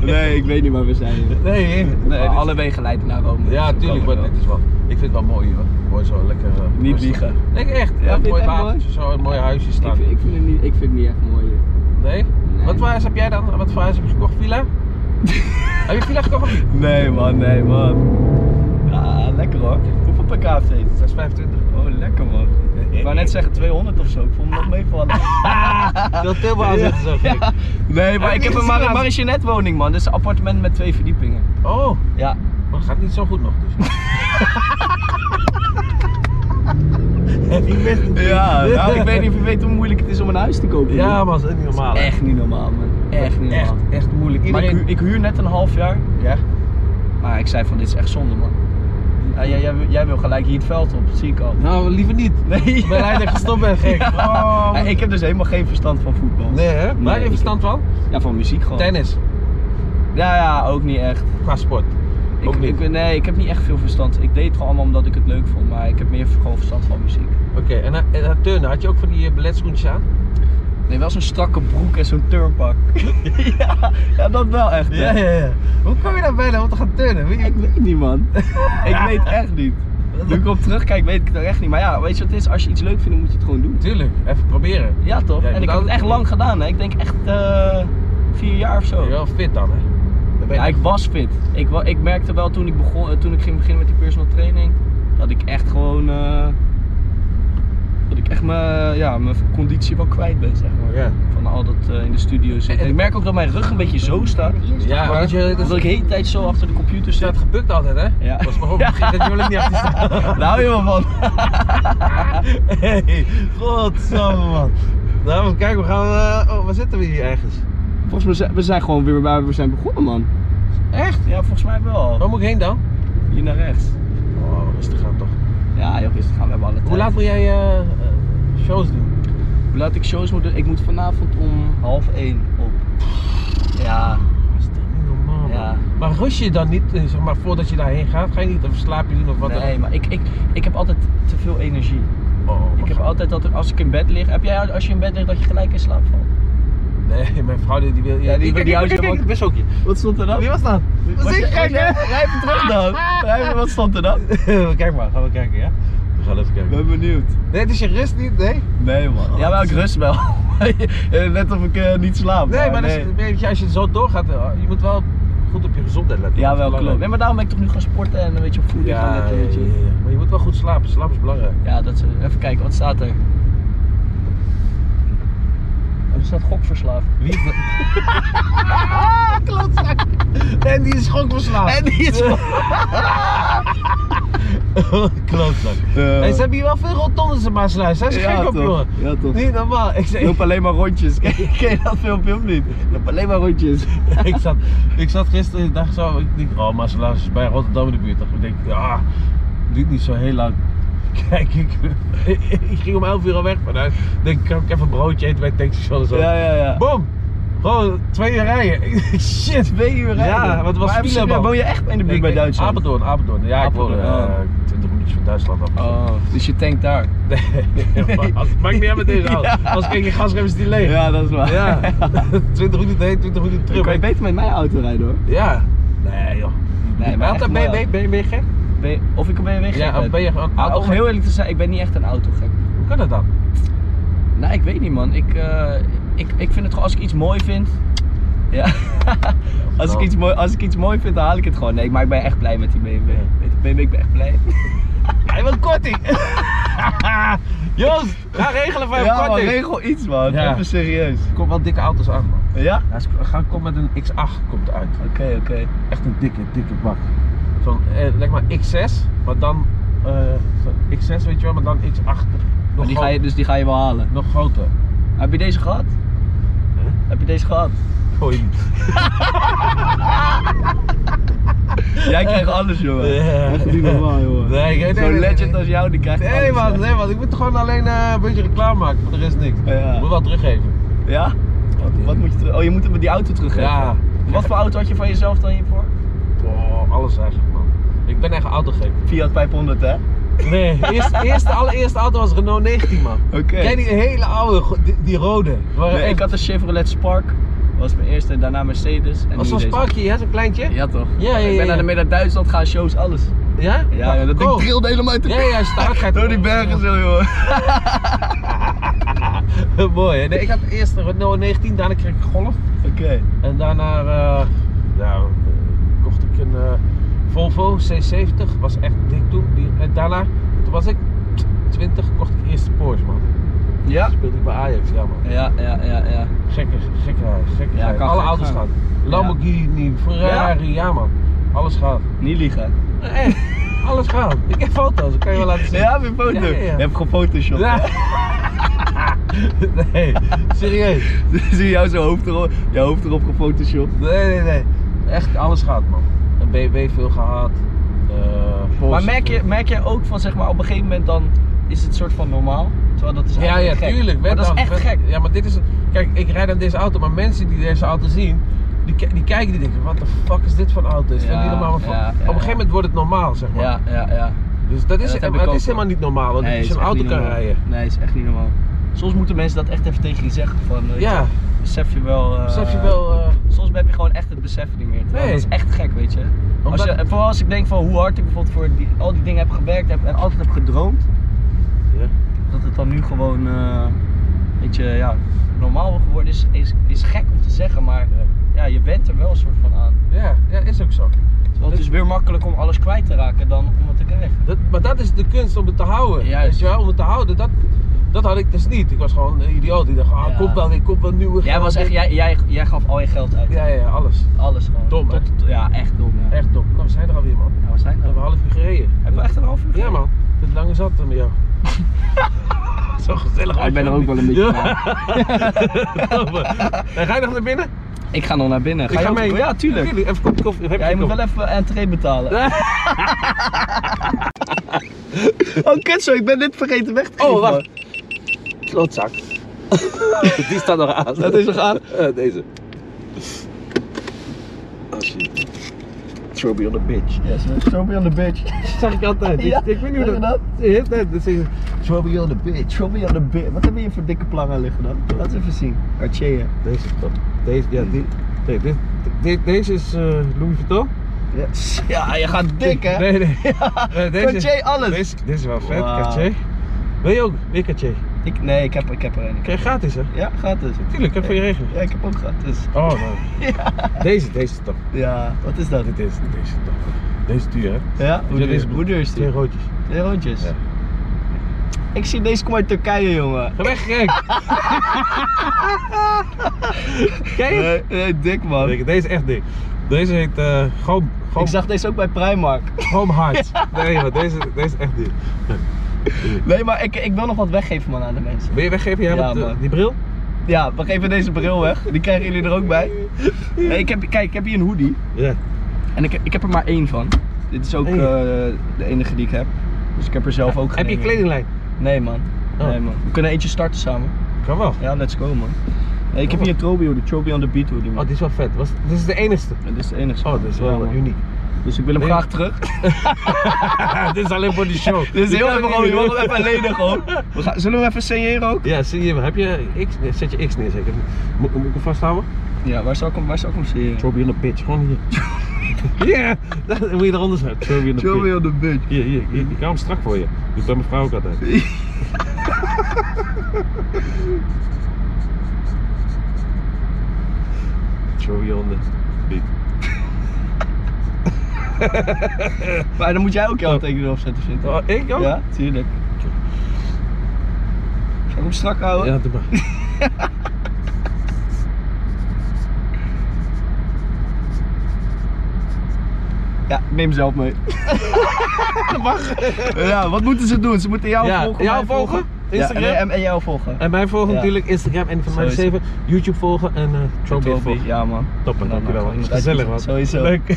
[SPEAKER 1] Nee, ik weet niet waar we zijn.
[SPEAKER 2] Nee, nee.
[SPEAKER 1] Nee,
[SPEAKER 2] dit is-
[SPEAKER 1] alle wegen leiden naar Rome.
[SPEAKER 2] Ja,
[SPEAKER 1] Dus we
[SPEAKER 2] tuurlijk, maar
[SPEAKER 1] komen er
[SPEAKER 2] dit is wel. Ik vind het wel mooi hoor. Mooi zo lekker. eh,
[SPEAKER 1] Niet
[SPEAKER 2] rustig.
[SPEAKER 1] liegen.
[SPEAKER 2] Nee, echt.
[SPEAKER 1] vind je
[SPEAKER 2] Ja,
[SPEAKER 1] het
[SPEAKER 2] mooi
[SPEAKER 1] echt
[SPEAKER 2] watertje, zo een mooi huisje
[SPEAKER 1] wel.
[SPEAKER 2] staan.
[SPEAKER 1] Ik, vind- ik, vind het niet, ik vind het niet echt mooi hier.
[SPEAKER 2] Nee? Wat voor huis heb jij dan? Wat voor huis heb je gekocht? Villa? heb je villa gekocht? of niet?
[SPEAKER 1] Nee man, nee man. Ja, Ah, lekker hoor. Hoeveel per KFC?
[SPEAKER 2] Dat is 25.
[SPEAKER 1] Oh, lekker man. Ik wou net zeggen 200 of zo. Ik vond me nog meevallen.
[SPEAKER 2] Ah, Dat Tilburg aan zitten zo. gek.
[SPEAKER 1] Ja. Nee, maar
[SPEAKER 2] Heb
[SPEAKER 1] ik
[SPEAKER 2] je
[SPEAKER 1] heb een
[SPEAKER 2] gezien
[SPEAKER 1] mar
[SPEAKER 2] laatst?
[SPEAKER 1] marionetwoning woning man. Dus een appartement met twee verdiepingen.
[SPEAKER 2] Oh,
[SPEAKER 1] Ja.
[SPEAKER 2] maar het gaat niet zo goed nog dus. ik wist het
[SPEAKER 1] Ja, nou, ik weet niet of je weet hoe moeilijk het is om een huis te kopen.
[SPEAKER 2] Ja, maar dat is niet normaal. hè.
[SPEAKER 1] Echt niet normaal man. Echt niet normaal.
[SPEAKER 2] Echt, echt moeilijk.
[SPEAKER 1] Maar ik,
[SPEAKER 2] Iedereen...
[SPEAKER 1] huur- ik huur net een half jaar.
[SPEAKER 2] Ja.
[SPEAKER 1] Maar ik zei van dit is echt zonde man. Ja, jij, jij, wil- jij wil gelijk hier het veld op, dat zie ik al.
[SPEAKER 2] Nou, liever niet.
[SPEAKER 1] Nee.
[SPEAKER 2] Ik ben blij dat ik gestopt ben, gek.
[SPEAKER 1] Ja,
[SPEAKER 2] Oh, man.
[SPEAKER 1] ik heb dus helemaal geen verstand van voetbal.
[SPEAKER 2] Nee, hè? Waar heb
[SPEAKER 1] ik-
[SPEAKER 2] je verstand van?
[SPEAKER 1] Ja, van muziek gewoon.
[SPEAKER 2] Tennis.
[SPEAKER 1] Ja, ja, ook niet echt.
[SPEAKER 2] Qua sport.
[SPEAKER 1] Ik,
[SPEAKER 2] Ook niet?
[SPEAKER 1] Ik, nee, ik heb niet echt veel verstand. Ik deed het gewoon allemaal omdat ik het leuk vond, maar ik heb meer gewoon verstand van muziek.
[SPEAKER 2] Oké, en, na- en na turnen, had je ook van die eh, balletschoentjes aan?
[SPEAKER 1] Nee, wel zo'n strakke broek en zo'n turnpak. ja, ja, dat wel echt. hè.
[SPEAKER 2] ja. Hoe kom je daar bijna om te gaan turnen? Weet je-
[SPEAKER 1] Ik weet niet, man. ik weet echt niet. Nu ik op terugkijk, weet ik het echt niet. Maar ja, weet je wat het is? Als je iets leuk vindt, dan moet je het gewoon doen.
[SPEAKER 2] Tuurlijk, even proberen.
[SPEAKER 1] Ja, toch?
[SPEAKER 2] Ja, je
[SPEAKER 1] en
[SPEAKER 2] moet
[SPEAKER 1] ik heb het
[SPEAKER 2] altijd-
[SPEAKER 1] echt lang gedaan, hè. Ik denk echt eh, vier jaar of
[SPEAKER 2] Ben
[SPEAKER 1] zo.
[SPEAKER 2] je wel fit dan, hè? Dan ben je-
[SPEAKER 1] Ja, ik was fit. Ik, wa- ik merkte wel toen ik, begon, eh, toen ik ging beginnen met die personal training, dat ik echt gewoon... eh, dat ik echt mijn ja, mijn conditie wel kwijt ben, zeg maar.
[SPEAKER 2] Ja.
[SPEAKER 1] Van al dat eh, in de studio zitten.
[SPEAKER 2] En-
[SPEAKER 1] ik merk ook dat mijn rug een beetje zo staat.
[SPEAKER 2] Ja,
[SPEAKER 1] Maar,
[SPEAKER 2] want je, dat
[SPEAKER 1] omdat ik de hele tijd zo achter de computer
[SPEAKER 2] je
[SPEAKER 1] zit.
[SPEAKER 2] staat gebukt altijd, hè?
[SPEAKER 1] Ja.
[SPEAKER 2] Pas maar op, vergeet dat jullie niet achter staan.
[SPEAKER 1] Daar hou je wel van.
[SPEAKER 2] Hey, godsamme man. Nou, even kijken, we gaan... eh, oh, waar zitten we hier ergens?
[SPEAKER 1] Volgens mij zijn we zijn gewoon weer waar we zijn begonnen, man.
[SPEAKER 2] Echt?
[SPEAKER 1] Ja, volgens mij wel.
[SPEAKER 2] Waar moet ik heen dan?
[SPEAKER 1] Hier naar rechts.
[SPEAKER 2] Oh, rustig aan toch.
[SPEAKER 1] Ja, joh, is gaan we hebben alle tijd.
[SPEAKER 2] Hoe laat moet jij eh, eh, shows doen?
[SPEAKER 1] Hoe laat ik shows moet doen? Ik moet vanavond om half één op. Ja,
[SPEAKER 2] Dat is toch niet normaal, man.
[SPEAKER 1] Ja.
[SPEAKER 2] Maar rust je dan niet, eh, zeg maar, voordat je daarheen gaat? Ga je niet, of slaap je niet of wat dan
[SPEAKER 1] nee, maar ik, ik, ik heb altijd te veel energie.
[SPEAKER 2] ook? Oh,
[SPEAKER 1] Ik heb
[SPEAKER 2] wat-
[SPEAKER 1] altijd dat als ik in bed lig. Heb jij als je in bed ligt dat je gelijk in slaap valt?
[SPEAKER 2] Nee, mijn vrouw die, die wil...
[SPEAKER 1] Ja, die-
[SPEAKER 2] Kijk,
[SPEAKER 1] die
[SPEAKER 2] kijk,
[SPEAKER 1] houdt je
[SPEAKER 2] kijk, kijk,
[SPEAKER 1] ook-
[SPEAKER 2] het bestokje.
[SPEAKER 1] Wat stond er dan?
[SPEAKER 2] Wie was dat?
[SPEAKER 1] Was
[SPEAKER 2] Was ik,
[SPEAKER 1] jij-
[SPEAKER 2] kijk
[SPEAKER 1] was jij-
[SPEAKER 2] hè?
[SPEAKER 1] Rij even terug dan. Rij even, wat stond er dan?
[SPEAKER 2] Kijk maar, gaan we kijken, ja? We gaan even kijken.
[SPEAKER 1] ben benieuwd.
[SPEAKER 2] Nee, het is je rust niet, nee?
[SPEAKER 1] Nee man. Ja, maar ik rust wel. Net of ik eh, niet slaap.
[SPEAKER 2] Nee, maar dat is- weet je, als je zo doorgaat, eh, je moet wel goed op je gezondheid letten.
[SPEAKER 1] Ja,
[SPEAKER 2] Dat
[SPEAKER 1] wel
[SPEAKER 2] is
[SPEAKER 1] klopt.
[SPEAKER 2] belangrijk.
[SPEAKER 1] Nee, maar daarom ben ik toch nu gaan sporten en een beetje op voeding gaan
[SPEAKER 2] Ja,
[SPEAKER 1] letten. weet je.
[SPEAKER 2] ja, ja, ja. maar je moet wel goed slapen. Slaap is belangrijk.
[SPEAKER 1] Ja, dat is, even kijken, wat staat er? Oh, Er staat gokverslaafd.
[SPEAKER 2] Wie? Klootzak. En die is gokverslaafd.
[SPEAKER 1] die is
[SPEAKER 2] Klootzak.
[SPEAKER 1] Ja.
[SPEAKER 2] Hey, ze hebben hier wel veel rotondes in Maassluis. Zijn ze
[SPEAKER 1] Ja,
[SPEAKER 2] gek op,
[SPEAKER 1] toch.
[SPEAKER 2] jongen?
[SPEAKER 1] Ja, toch.
[SPEAKER 2] Niet normaal. Ik, zei,
[SPEAKER 1] Loop alleen maar rondjes. Ken je, ken je dat filmpje of niet? Loop alleen maar rondjes.
[SPEAKER 2] ik, zat, ik zat gisteren en dacht zo, ik denk, oh Maassluis is bij Rotterdam in de buurt. Ik denk, ja, duurt niet zo heel lang. Kijk, ik, ik ging om 11 uur al weg vanuit. Ik denk, kan ik even een broodje eten bij het tankstation en zo.
[SPEAKER 1] Ja, ja, ja.
[SPEAKER 2] Bom! Gewoon twee uur rijden. Ik denk, Shit.
[SPEAKER 1] Twee uur rijden.
[SPEAKER 2] Ja, wat was
[SPEAKER 1] Maar
[SPEAKER 2] Spielberg?
[SPEAKER 1] serieus, Woon je echt in de buurt bij
[SPEAKER 2] Ik-
[SPEAKER 1] Duitsland?
[SPEAKER 2] Apeldoorn, Apeldoorn. Ja, ik woon
[SPEAKER 1] Apeldoorn,
[SPEAKER 2] eh, 20 minuutjes van Duitsland af.
[SPEAKER 1] Oh, dus je tankt daar.
[SPEAKER 2] Nee, maar als- maakt niet uit met deze auto.
[SPEAKER 1] Ja.
[SPEAKER 2] Als ik in gasrem is die leeg.
[SPEAKER 1] Ja, dat is waar.
[SPEAKER 2] Ja. 20 minuten heen, 20
[SPEAKER 1] Dan
[SPEAKER 2] minuten terug.
[SPEAKER 1] kan je beter met mijn auto rijden hoor.
[SPEAKER 2] Ja. Nee joh.
[SPEAKER 1] Nee, maar
[SPEAKER 2] Altijd
[SPEAKER 1] echt
[SPEAKER 2] ben, je-
[SPEAKER 1] mooi.
[SPEAKER 2] ben, je- ben, je- ben je gek?
[SPEAKER 1] Ben je- Of ik een BMW gek
[SPEAKER 2] Ja,
[SPEAKER 1] ben.
[SPEAKER 2] ben je gewoon
[SPEAKER 1] Maar
[SPEAKER 2] auto
[SPEAKER 1] om heel eerlijk te zijn, ik ben niet echt een autogek.
[SPEAKER 2] Hoe kan dat dan?
[SPEAKER 1] Nou, ik weet niet man. Ik, eh, ik, ik vind het gewoon als ik iets mooi vind. Ja. als, ik
[SPEAKER 2] Nou.
[SPEAKER 1] iets mooi, als ik iets mooi vind, dan haal ik het gewoon. Nee, maar ik ben echt blij met die BMW. Met die BMW, ik ben echt blij.
[SPEAKER 2] Hij wil korting. Joost, ga regelen voor hem
[SPEAKER 1] ja, man,
[SPEAKER 2] korting.
[SPEAKER 1] regel iets man.
[SPEAKER 2] Ja.
[SPEAKER 1] Even serieus.
[SPEAKER 2] Er komen wel dikke auto's aan man.
[SPEAKER 1] Ja?
[SPEAKER 2] Ja, ze gaan komen met een X8 komt uit.
[SPEAKER 1] Oké, oké.
[SPEAKER 2] Echt een dikke, dikke bak. Zo'n, eh, leg maar X6, maar dan eh, zo'n X6 weet je wel, maar dan X8.
[SPEAKER 1] Maar
[SPEAKER 2] Nog,
[SPEAKER 1] die ga je,
[SPEAKER 2] gro-
[SPEAKER 1] dus die ga je wel halen.
[SPEAKER 2] nog groter.
[SPEAKER 1] Heb je deze gehad? Heb je deze gehad?
[SPEAKER 2] Gooi niet.
[SPEAKER 1] Jij krijgt alles, jongen.
[SPEAKER 2] Ja.
[SPEAKER 1] Echt niet normaal, jongen.
[SPEAKER 2] Nee, ik- nee,
[SPEAKER 1] Zo'n
[SPEAKER 2] nee, nee,
[SPEAKER 1] legend
[SPEAKER 2] nee.
[SPEAKER 1] als jou, die krijgt
[SPEAKER 2] Nee
[SPEAKER 1] alles.
[SPEAKER 2] man,
[SPEAKER 1] hè.
[SPEAKER 2] nee man, ik moet gewoon alleen eh, een beetje reclame maken, voor de rest niks.
[SPEAKER 1] Ja.
[SPEAKER 2] Ik moet wel teruggeven.
[SPEAKER 1] Ja? Wat moet je terug? Oh, je moet hem die auto teruggeven.
[SPEAKER 2] Ja.
[SPEAKER 1] Wat voor auto had je van jezelf dan hiervoor?
[SPEAKER 2] Oh, alles eigenlijk man. Ik ben echt autogek.
[SPEAKER 1] Fiat 500, hè?
[SPEAKER 2] Nee, eerst, eerst, de allereerste auto was Renault 19 man.
[SPEAKER 1] Oké.
[SPEAKER 2] Ken je die hele oude, go- die, die rode? Waar
[SPEAKER 1] Nee,
[SPEAKER 2] echt-
[SPEAKER 1] ik had een Chevrolet Spark. Dat was mijn eerste, daarna Mercedes. En nu
[SPEAKER 2] was zo'n
[SPEAKER 1] deze.
[SPEAKER 2] sparkje, hè, zo'n kleintje?
[SPEAKER 1] Ja toch?
[SPEAKER 2] Ja, ja,
[SPEAKER 1] Ik ben
[SPEAKER 2] ja, ja.
[SPEAKER 1] naar de Midden-Duitsland gaan, shows, alles.
[SPEAKER 2] Ja?
[SPEAKER 1] Ja, ja, dat ding
[SPEAKER 2] Cool.
[SPEAKER 1] trilde helemaal uit de...
[SPEAKER 2] Ja, ja, als je te hard gaat-
[SPEAKER 1] Door die bergen zo, joh.
[SPEAKER 2] Mooi hè? Nee, ik had eerst een Renault 19, daarna kreeg ik een Golf.
[SPEAKER 1] Oké.
[SPEAKER 2] En daarna eh, ja, eh, kocht ik een eh, Volvo C70, was echt dik toen. Die, en daarna, toen was ik 20, kocht ik eerst een Porsche man.
[SPEAKER 1] Ja?
[SPEAKER 2] Speelde ik bij Ajax, ja man.
[SPEAKER 1] Ja, ja, ja, ja.
[SPEAKER 2] Gekke, gekke, gekke.
[SPEAKER 1] Ja, kan
[SPEAKER 2] Alle
[SPEAKER 1] gek
[SPEAKER 2] auto's
[SPEAKER 1] gaan.
[SPEAKER 2] gaan. Lamborghini, Ferrari, ja? man. Alles gaat.
[SPEAKER 1] Niet liegen.
[SPEAKER 2] Eh, Echt, alles gaat. Ik heb foto's, ik kan je wel laten zien.
[SPEAKER 1] Ja, heb je een foto?
[SPEAKER 2] Ja, ja, ja.
[SPEAKER 1] Je hebt gefotoshopt.
[SPEAKER 2] Ja.
[SPEAKER 1] hè?
[SPEAKER 2] nee, serieus.
[SPEAKER 1] Zie je jou zo hoofd erop, je hoofd erop gefotoshopt.
[SPEAKER 2] Nee, nee, nee. Echt alles gaat, man. Een BMW veel gehad. eh, Porsche.
[SPEAKER 1] Maar merk je, merk je ook van zeg maar op een gegeven moment dan is het soort van normaal? Terwijl dat is
[SPEAKER 2] Ja,
[SPEAKER 1] eigenlijk
[SPEAKER 2] ja,
[SPEAKER 1] gek.
[SPEAKER 2] tuurlijk.
[SPEAKER 1] Maar
[SPEAKER 2] Werd
[SPEAKER 1] dat is
[SPEAKER 2] dan-
[SPEAKER 1] echt
[SPEAKER 2] werd-
[SPEAKER 1] gek.
[SPEAKER 2] Ja, maar dit is. Kijk, ik rijd aan deze auto, maar mensen die deze auto zien, Die, ki- die kijken die denken, wat de fuck is dit voor een auto? Is
[SPEAKER 1] Ja,
[SPEAKER 2] ja, hier normaal van?
[SPEAKER 1] ja,
[SPEAKER 2] Op een
[SPEAKER 1] ja.
[SPEAKER 2] gegeven moment wordt het normaal, zeg maar.
[SPEAKER 1] Ja, ja, ja.
[SPEAKER 2] Dus dat is,
[SPEAKER 1] dat heb ik
[SPEAKER 2] maar het
[SPEAKER 1] ook,
[SPEAKER 2] is helemaal
[SPEAKER 1] hoor.
[SPEAKER 2] niet normaal, want
[SPEAKER 1] Nee,
[SPEAKER 2] als
[SPEAKER 1] is
[SPEAKER 2] je een
[SPEAKER 1] echt
[SPEAKER 2] auto
[SPEAKER 1] niet
[SPEAKER 2] kan
[SPEAKER 1] normaal.
[SPEAKER 2] rijden.
[SPEAKER 1] Nee, is echt niet normaal. Soms moeten mensen dat echt even tegen je zeggen van, eh,
[SPEAKER 2] Ja,
[SPEAKER 1] besef je wel... eh,
[SPEAKER 2] besef je wel. eh,
[SPEAKER 1] Soms heb je gewoon echt het besef niet meer. terwijl
[SPEAKER 2] Nee.
[SPEAKER 1] Dat is echt gek, weet je. Als
[SPEAKER 2] Omdat-
[SPEAKER 1] je. en Vooral als ik denk van hoe hard ik bijvoorbeeld voor die, al die dingen heb gewerkt heb en altijd heb gedroomd.
[SPEAKER 2] Ja.
[SPEAKER 1] Dat het dan nu gewoon, eh weet je, ja, normaal geworden is, is, is gek om te zeggen, maar
[SPEAKER 2] Ja.
[SPEAKER 1] ja, je bent er wel een soort van aan.
[SPEAKER 2] ja, ja, is ook zo.
[SPEAKER 1] Want het is weer makkelijk om alles kwijt te raken dan om het te krijgen.
[SPEAKER 2] Dat, maar dat is de kunst om het te houden.
[SPEAKER 1] Juist.
[SPEAKER 2] Weet je wel, om het te houden, dat, dat had ik dus niet. Ik was gewoon een idioot die dacht, ah,
[SPEAKER 1] Ja.
[SPEAKER 2] kom wel weer, kom wel nieuwe
[SPEAKER 1] Jij,
[SPEAKER 2] geld
[SPEAKER 1] was echt,
[SPEAKER 2] in.
[SPEAKER 1] jij, jij, jij gaf al je geld uit.
[SPEAKER 2] Ja, ja, alles.
[SPEAKER 1] Alles gewoon.
[SPEAKER 2] Dom, hè?
[SPEAKER 1] Tot- ja, echt dom. Ja.
[SPEAKER 2] Echt top. Nou, we zijn er alweer, man.
[SPEAKER 1] Ja, we zijn
[SPEAKER 2] We
[SPEAKER 1] er.
[SPEAKER 2] hebben een half uur gereden.
[SPEAKER 1] Hebben we echt een half uur?
[SPEAKER 2] Ja, man. Het lange zat dan met jou. zo gezellig.
[SPEAKER 1] Ja,
[SPEAKER 2] was
[SPEAKER 1] ik ben
[SPEAKER 2] je
[SPEAKER 1] er ook wel een beetje
[SPEAKER 2] Top, man. Hey, Ga je nog naar binnen?
[SPEAKER 1] Ik ga nog naar binnen. Ga
[SPEAKER 2] ik
[SPEAKER 1] je
[SPEAKER 2] ga
[SPEAKER 1] ook-
[SPEAKER 2] mee.
[SPEAKER 1] Ja, tuurlijk.
[SPEAKER 2] Even koffie. koffie. Heb
[SPEAKER 1] Ja,
[SPEAKER 2] je
[SPEAKER 1] je moet wel
[SPEAKER 2] koffie?
[SPEAKER 1] even entree betalen. oh, kutzo, ik ben dit vergeten weg te
[SPEAKER 2] Oh, wacht. Klootzak. Die staat nog aan.
[SPEAKER 1] Dat is nog aan?
[SPEAKER 2] Eh, eh, Deze. Oh shit. Throw me on the bitch.
[SPEAKER 1] Yes, show me on the bitch.
[SPEAKER 2] Dat zag ik altijd.
[SPEAKER 1] Ja,
[SPEAKER 2] ik, ik weet niet
[SPEAKER 1] zeg
[SPEAKER 2] hoe
[SPEAKER 1] je
[SPEAKER 2] dat... Ja, nee, dat is...
[SPEAKER 1] Show me on the bitch, show me on the bitch. Wat hebben we hier voor dikke plangen liggen dan? Laten we even zien. Cartier.
[SPEAKER 2] Deze is top. Deze, ja, die... Nee, dit, dit- deze is eh Louis Vuitton.
[SPEAKER 1] Ja. ja, je gaat dik hè?
[SPEAKER 2] Nee, nee. Nee, deze,
[SPEAKER 1] Cartier alles.
[SPEAKER 2] Deze, deze is wel vet,
[SPEAKER 1] Wauw.
[SPEAKER 2] Cartier. Wil je ook weer Cartier?
[SPEAKER 1] Ik, nee, ik heb, ik heb er een.
[SPEAKER 2] Krijg je gratis, hè?
[SPEAKER 1] Ja, gratis.
[SPEAKER 2] Tuurlijk, ik heb voor je regelen.
[SPEAKER 1] Ja, ik heb ook gratis.
[SPEAKER 2] Oh, man. Deze, deze is top.
[SPEAKER 1] Ja, wat is dat?
[SPEAKER 2] Dit is, deze is top. Deze is duur, hè?
[SPEAKER 1] Ja, hoe
[SPEAKER 2] Ja,
[SPEAKER 1] duur,
[SPEAKER 2] deze-
[SPEAKER 1] hoe duur is
[SPEAKER 2] Twee
[SPEAKER 1] die?
[SPEAKER 2] roodjes.
[SPEAKER 1] Twee rondjes.
[SPEAKER 2] Ja.
[SPEAKER 1] Ik zie deze kom uit Turkije, jongen.
[SPEAKER 2] Ga weg, gek! Kijk eens.
[SPEAKER 1] Nee, nee, dik man.
[SPEAKER 2] Kijk, Deze is echt dik. Deze heet eh Goom, Goom,
[SPEAKER 1] Ik zag deze ook bij Primark.
[SPEAKER 2] Goom Hard. Nee, joh, deze, deze is echt duur.
[SPEAKER 1] Nee, maar ik, ik wil nog wat weggeven man aan de mensen.
[SPEAKER 2] Wil je weggeven? Jij
[SPEAKER 1] Ja,
[SPEAKER 2] hebt, eh,
[SPEAKER 1] man.
[SPEAKER 2] die bril?
[SPEAKER 1] Ja, we geven deze bril weg. Die krijgen jullie er ook bij. Nee, ik heb, kijk, ik heb hier een hoodie.
[SPEAKER 2] Ja.
[SPEAKER 1] En ik, ik heb er maar één van. Dit is ook
[SPEAKER 2] Eén?
[SPEAKER 1] eh, de enige die ik heb. Dus ik heb er zelf ook geen
[SPEAKER 2] Heb je een
[SPEAKER 1] één.
[SPEAKER 2] kledinglijn?
[SPEAKER 1] Nee man.
[SPEAKER 2] Oh.
[SPEAKER 1] nee man. We kunnen eentje starten samen.
[SPEAKER 2] Kan wel.
[SPEAKER 1] Ja, let's go man. Nee, ik heb
[SPEAKER 2] Oh.
[SPEAKER 1] hier een Trobi hoodie. Trobi on the beat hoodie
[SPEAKER 2] Oh,
[SPEAKER 1] man.
[SPEAKER 2] die is wel vet. Was, dit is de enigste.
[SPEAKER 1] Dit is de enige.
[SPEAKER 2] Oh, dit is wel
[SPEAKER 1] Ja, man.
[SPEAKER 2] uniek.
[SPEAKER 1] Dus ik wil hem
[SPEAKER 2] Nee.
[SPEAKER 1] graag terug.
[SPEAKER 2] dit is alleen voor die show.
[SPEAKER 1] Dit is
[SPEAKER 2] Die
[SPEAKER 1] heel
[SPEAKER 2] kan
[SPEAKER 1] even
[SPEAKER 2] ik
[SPEAKER 1] gewoon,
[SPEAKER 2] niet
[SPEAKER 1] je mag
[SPEAKER 2] doen.
[SPEAKER 1] hem even alleen gewoon. We gaan, zullen we hem even signeren ook?
[SPEAKER 2] Ja, zie je, heb je X, nee, zet je X neer zeker. Moet, moet ik hem vasthouden?
[SPEAKER 1] Ja, waar zou ik hem, waar zou ik hem signeren?
[SPEAKER 2] Throw me on the bitch, gewoon hier. Ja, dat moet je eronder zetten. Throw me
[SPEAKER 1] on
[SPEAKER 2] on the bitch.
[SPEAKER 1] the bitch.
[SPEAKER 2] Hier, hier, hier, ik hou hem strak voor je. Doe ik bij mijn vrouw ook altijd. Throw me on the bitch.
[SPEAKER 1] Maar dan moet jij ook je handtekening erop zetten, vind ik.
[SPEAKER 2] Oh, ik ook?
[SPEAKER 1] Ja, tuurlijk. Zal ik hem strak houden?
[SPEAKER 2] Ja, doe maar.
[SPEAKER 1] Ja, neem zelf mee. Ja, wat moeten ze doen? Ze moeten jou
[SPEAKER 2] Ja,
[SPEAKER 1] volgen.
[SPEAKER 2] jou
[SPEAKER 1] mij
[SPEAKER 2] volgen, Instagram.
[SPEAKER 1] Ja, en, en jou volgen.
[SPEAKER 2] En mij volgen
[SPEAKER 1] Ja.
[SPEAKER 2] natuurlijk Instagram en van
[SPEAKER 1] Zo
[SPEAKER 2] mij
[SPEAKER 1] is het.
[SPEAKER 2] 7. YouTube volgen en eh Throw me
[SPEAKER 1] Toby,
[SPEAKER 2] volgen.
[SPEAKER 1] Ja man.
[SPEAKER 2] Toppen,
[SPEAKER 1] Nou,
[SPEAKER 2] dankjewel.
[SPEAKER 1] nou,
[SPEAKER 2] man. Gezellig man.
[SPEAKER 1] Sowieso.
[SPEAKER 2] Leuk.